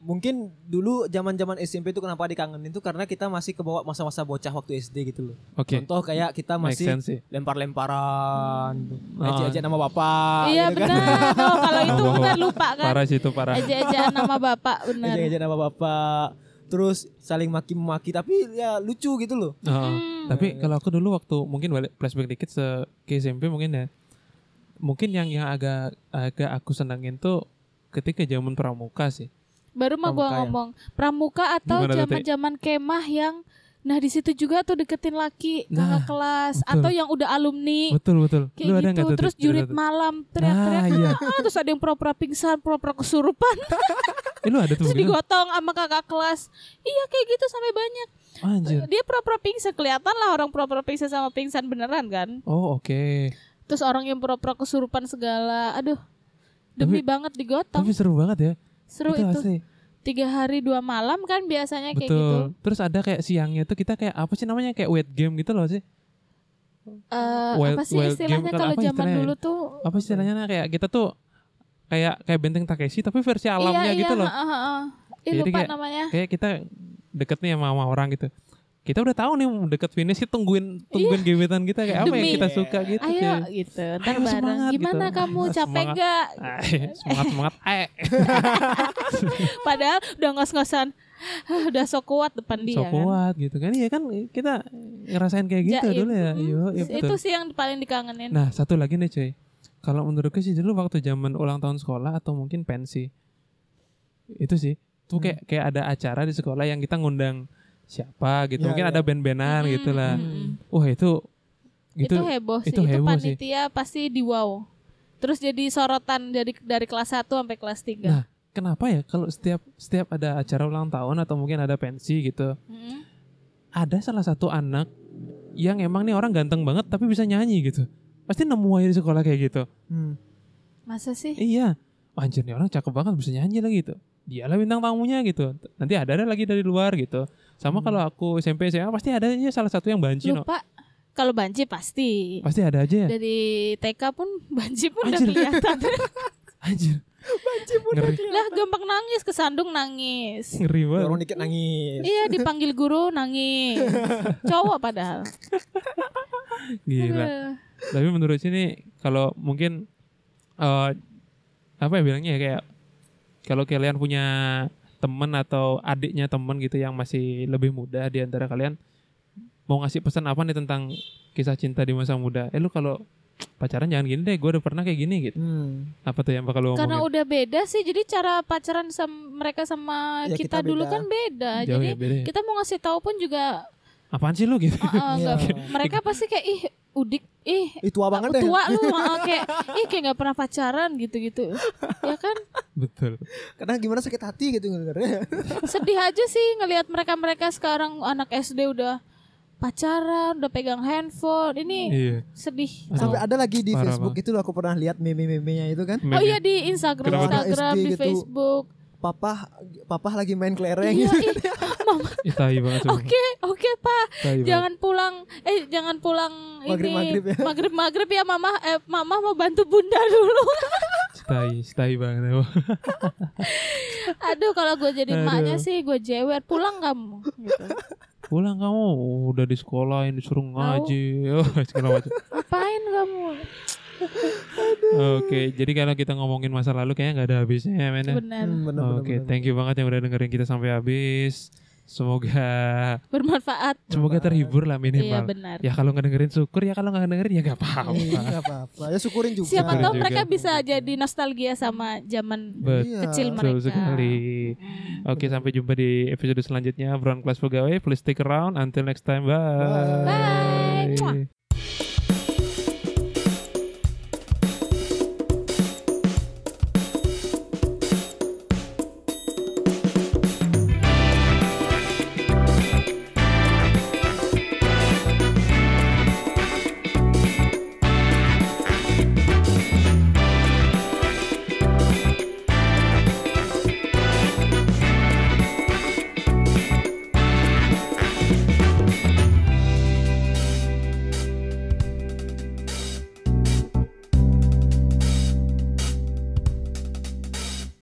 Speaker 2: mungkin dulu zaman zaman SMP itu kenapa dikangenin tuh karena kita masih kebawa masa-masa bocah waktu SD gitu loh
Speaker 1: Oke.
Speaker 2: contoh kayak kita
Speaker 1: Make
Speaker 2: masih
Speaker 1: sense sih.
Speaker 2: lempar-lemparan
Speaker 1: Ah.
Speaker 2: ejek-ejek nama bapak
Speaker 3: iya
Speaker 2: gitu kan.
Speaker 3: benar. Oh, kalau itu
Speaker 1: Bohong.
Speaker 3: benar lupa kan.
Speaker 1: Parah sih itu parah.
Speaker 3: Aja-ajaan nama bapak benar.
Speaker 2: ejek-ejek nama bapak terus saling maki-maki tapi ya lucu gitu loh
Speaker 1: Heeh.
Speaker 3: Hmm.
Speaker 1: Tapi kalau aku dulu waktu mungkin balik flashback dikit se ke SMP mungkin ya. Mungkin yang yang agak agak aku senengin tuh ketika zaman pramuka sih.
Speaker 3: Baru mah gua
Speaker 2: Pramuka ya?
Speaker 3: ngomong pramuka atau
Speaker 1: Gimana tuh, Teh?
Speaker 3: zaman-zaman kemah yang nah di situ juga tuh deketin laki
Speaker 1: Nah,
Speaker 3: kakak kelas
Speaker 1: betul.
Speaker 3: atau yang udah alumni
Speaker 1: Betul betul.
Speaker 3: kayak
Speaker 1: lu ada
Speaker 3: gitu
Speaker 1: nggak tuh?
Speaker 3: terus
Speaker 1: Tit,
Speaker 3: jurit
Speaker 1: cerita tuh?
Speaker 3: malam teriak-teriak
Speaker 1: Nah, iya.
Speaker 3: "Ah," terus ada yang pura-pura pingsan pura-pura kesurupan
Speaker 1: Eh, lu ada tuh
Speaker 3: terus
Speaker 1: begitu?
Speaker 3: digotong sama kakak kelas iya kayak gitu sampai banyak
Speaker 1: Anjir.
Speaker 3: dia pura-pura pingsan kelihatan lah orang pura-pura pingsan sama pingsan beneran kan
Speaker 1: Oh oke.
Speaker 3: terus orang yang pura-pura kesurupan segala aduh demi banget digotong
Speaker 1: Tapi seru banget ya.
Speaker 3: seru
Speaker 1: itu,
Speaker 3: itu,
Speaker 1: asli.
Speaker 3: tiga hari dua malam kan biasanya kayak
Speaker 1: Betul.
Speaker 3: gitu
Speaker 1: Terus ada kayak siangnya tuh kita kayak apa sih namanya kayak wait game gitu loh sih.
Speaker 3: Eh,
Speaker 1: Wild-
Speaker 3: apa sih
Speaker 1: wild
Speaker 3: istilahnya
Speaker 1: game,
Speaker 3: kalau
Speaker 1: apa
Speaker 3: zaman
Speaker 1: istilahnya? ya?
Speaker 3: dulu tuh
Speaker 1: Apa sih istilahnya nah, kayak kita tuh kayak kayak benteng Takeshi tapi versi alamnya
Speaker 3: iya,
Speaker 1: gitu
Speaker 3: iya,
Speaker 1: loh.
Speaker 3: ha, ha, ha. Ih,
Speaker 1: Jadi
Speaker 3: lupa
Speaker 1: kayak-
Speaker 3: namanya
Speaker 1: Kayak kita deket nih sama, sama orang gitu. kita udah tahu nih deket finish kita tungguin tungguin gebetan kita kayak apa yang
Speaker 3: Iya. Demi.
Speaker 1: kita suka gitu
Speaker 3: Ayo
Speaker 1: kayak.
Speaker 3: gitu, ntar
Speaker 1: Ayo,
Speaker 3: bareng.
Speaker 1: semangat,
Speaker 3: Gimana
Speaker 1: gitu.
Speaker 3: kamu
Speaker 1: Semangat.
Speaker 3: capek nggak?
Speaker 1: Ay, semangat semangat eh
Speaker 3: Padahal udah ngos-ngosan, Hah, udah sok kuat depan dia.
Speaker 1: so
Speaker 3: kan.
Speaker 1: kuat gitu kan iya kan kita ngerasain kayak gitu
Speaker 3: Jaim.
Speaker 1: dulu ya
Speaker 3: Mm,
Speaker 1: Yo, iya betul.
Speaker 3: Itu sih yang paling dikangenin.
Speaker 1: Nah, satu lagi nih cuy. Kalau menurutku sih dulu waktu zaman ulang tahun sekolah atau mungkin pensi. Itu sih. Tuh kayak
Speaker 2: Hmm.
Speaker 1: kayak ada acara di sekolah yang kita ngundang siapa gitu.
Speaker 2: Ya,
Speaker 1: mungkin
Speaker 2: ya.
Speaker 1: ada band-bandan
Speaker 3: Mm,
Speaker 1: gitu lah.
Speaker 3: mm, mm.
Speaker 1: Wah, itu
Speaker 3: Itu
Speaker 1: gitu
Speaker 3: heboh sih.
Speaker 1: itu
Speaker 3: Itu,
Speaker 1: heboh sih.
Speaker 3: panitia pasti di wow. Terus jadi sorotan dari dari kelas 1 sampai kelas 3.
Speaker 1: Nah. kenapa ya kalau setiap setiap ada acara ulang tahun atau mungkin ada pensi gitu,
Speaker 3: Mm.
Speaker 1: ada salah satu anak yang emang nih orang ganteng banget tapi bisa nyanyi gitu. Pasti nemu aja di sekolah kayak gitu.
Speaker 2: Hmm.
Speaker 3: Masa sih?
Speaker 1: Iya, anjir nih orang cakep banget bisa nyanyi lah gitu. Dialah bintang tamunya gitu. Nanti ada ada lagi dari luar gitu. Sama
Speaker 2: Hmm.
Speaker 1: kalau aku SMP SMA pasti ada aja salah satu yang banci no.
Speaker 3: Lupa. Kalau banci pasti.
Speaker 1: Pasti ada aja ya.
Speaker 3: Dari TK pun banci pun udah
Speaker 1: Anjir.
Speaker 3: kelihatan.
Speaker 1: Anjir, ngeri,
Speaker 2: gitu.
Speaker 3: lah gampang nangis, kesandung nangis.
Speaker 1: ngeri banget.
Speaker 2: Dorong dikit nangis.
Speaker 3: Iya dipanggil guru nangis. Cowok padahal.
Speaker 1: Gila.
Speaker 3: Aduh.
Speaker 1: Tapi menurut sini kalau mungkin eh apa ya bilangnya ya kayak kalau kalian punya temen atau adiknya temen gitu yang masih lebih muda di antara kalian mau ngasih pesan apa nih tentang kisah cinta di masa muda? Eh lu kalau pacaran jangan gini deh, gue udah pernah kayak gini gitu.
Speaker 2: Hmm.
Speaker 1: apa tuh yang bakal lo
Speaker 3: Karena
Speaker 1: ngomongin?
Speaker 3: udah beda sih, jadi cara pacaran sama mereka sama
Speaker 2: Ya,
Speaker 3: kita,
Speaker 2: kita
Speaker 3: dulu
Speaker 2: beda.
Speaker 3: kan beda.
Speaker 1: jauh
Speaker 3: jadi
Speaker 1: ya beda ya.
Speaker 3: kita mau ngasih tahu pun juga
Speaker 1: Apaan sih lu gitu?
Speaker 3: eh, eh, nggak-
Speaker 2: Iya.
Speaker 3: mereka pasti kayak ih udik, ih
Speaker 2: Ih tua banget ya." deh.
Speaker 3: tua lu eh, kayak ih kayak nggak pernah pacaran gitu-gitu. ya kan
Speaker 1: Betul.
Speaker 2: Kadang gimana sakit hati gitu dengernya.
Speaker 3: sedih aja sih ngelihat mereka-mereka sekarang anak SD udah pacaran, udah pegang handphone. Ini
Speaker 1: Iya.
Speaker 3: sedih.
Speaker 1: Aduh,
Speaker 2: Sampai ada lagi di
Speaker 1: Parah
Speaker 2: Facebook itu loh aku pernah lihat meme-memenya itu kan.
Speaker 3: Oh
Speaker 1: meme.
Speaker 3: iya di Instagram,
Speaker 1: Kenapa tuh?
Speaker 3: Instagram,
Speaker 2: SD
Speaker 3: di
Speaker 2: gitu.
Speaker 3: Facebook.
Speaker 2: Papa papa lagi main kelereng.
Speaker 3: Iya, ih,
Speaker 1: Ih, tai banget semua.
Speaker 3: Oke, oke Pak.
Speaker 1: Gitu. Tai banget.
Speaker 3: jangan pulang eh jangan pulang ini
Speaker 2: Maghrib-maghrib ya.
Speaker 3: maghrib maghrib ya mama eh mama mau bantu bunda dulu
Speaker 1: Tai, tai banget. emang.
Speaker 3: aduh kalau gue jadi
Speaker 1: Aduh.
Speaker 3: emaknya sih gue jewer pulang kamu gitu.
Speaker 1: Pulang kamu Oh, udah di sekolah yang disuruh ngaji. Oh, segala macam.
Speaker 3: ngapain kamu
Speaker 1: Oke, jadi kalau kita ngomongin masa lalu kayaknya nggak ada habisnya ya, men. ya?
Speaker 3: benar
Speaker 2: Hmm, bener, bener,
Speaker 1: Oke,
Speaker 2: bener.
Speaker 1: thank you banget yang udah dengerin kita sampai habis. Semoga
Speaker 3: bermanfaat
Speaker 1: semoga terhibur lah
Speaker 3: iya
Speaker 1: minimal.
Speaker 3: benar
Speaker 1: ya kalau nggak dengerin syukur ya kalau nggak dengerin ya nggak
Speaker 2: Iya,
Speaker 1: apa-apa.
Speaker 2: nggak apa-apa. Ya syukurin juga.
Speaker 3: siapa
Speaker 1: Benar
Speaker 3: tahu
Speaker 1: juga.
Speaker 3: mereka bisa jadi nostalgia sama zaman
Speaker 1: Betul
Speaker 2: Iya.
Speaker 3: kecil
Speaker 1: Betul
Speaker 3: mereka
Speaker 1: sekali. Oke, sampai jumpa di episode selanjutnya Brown Class Pegawai. Please stick around. Until next time, bye.
Speaker 3: Bye. Muah.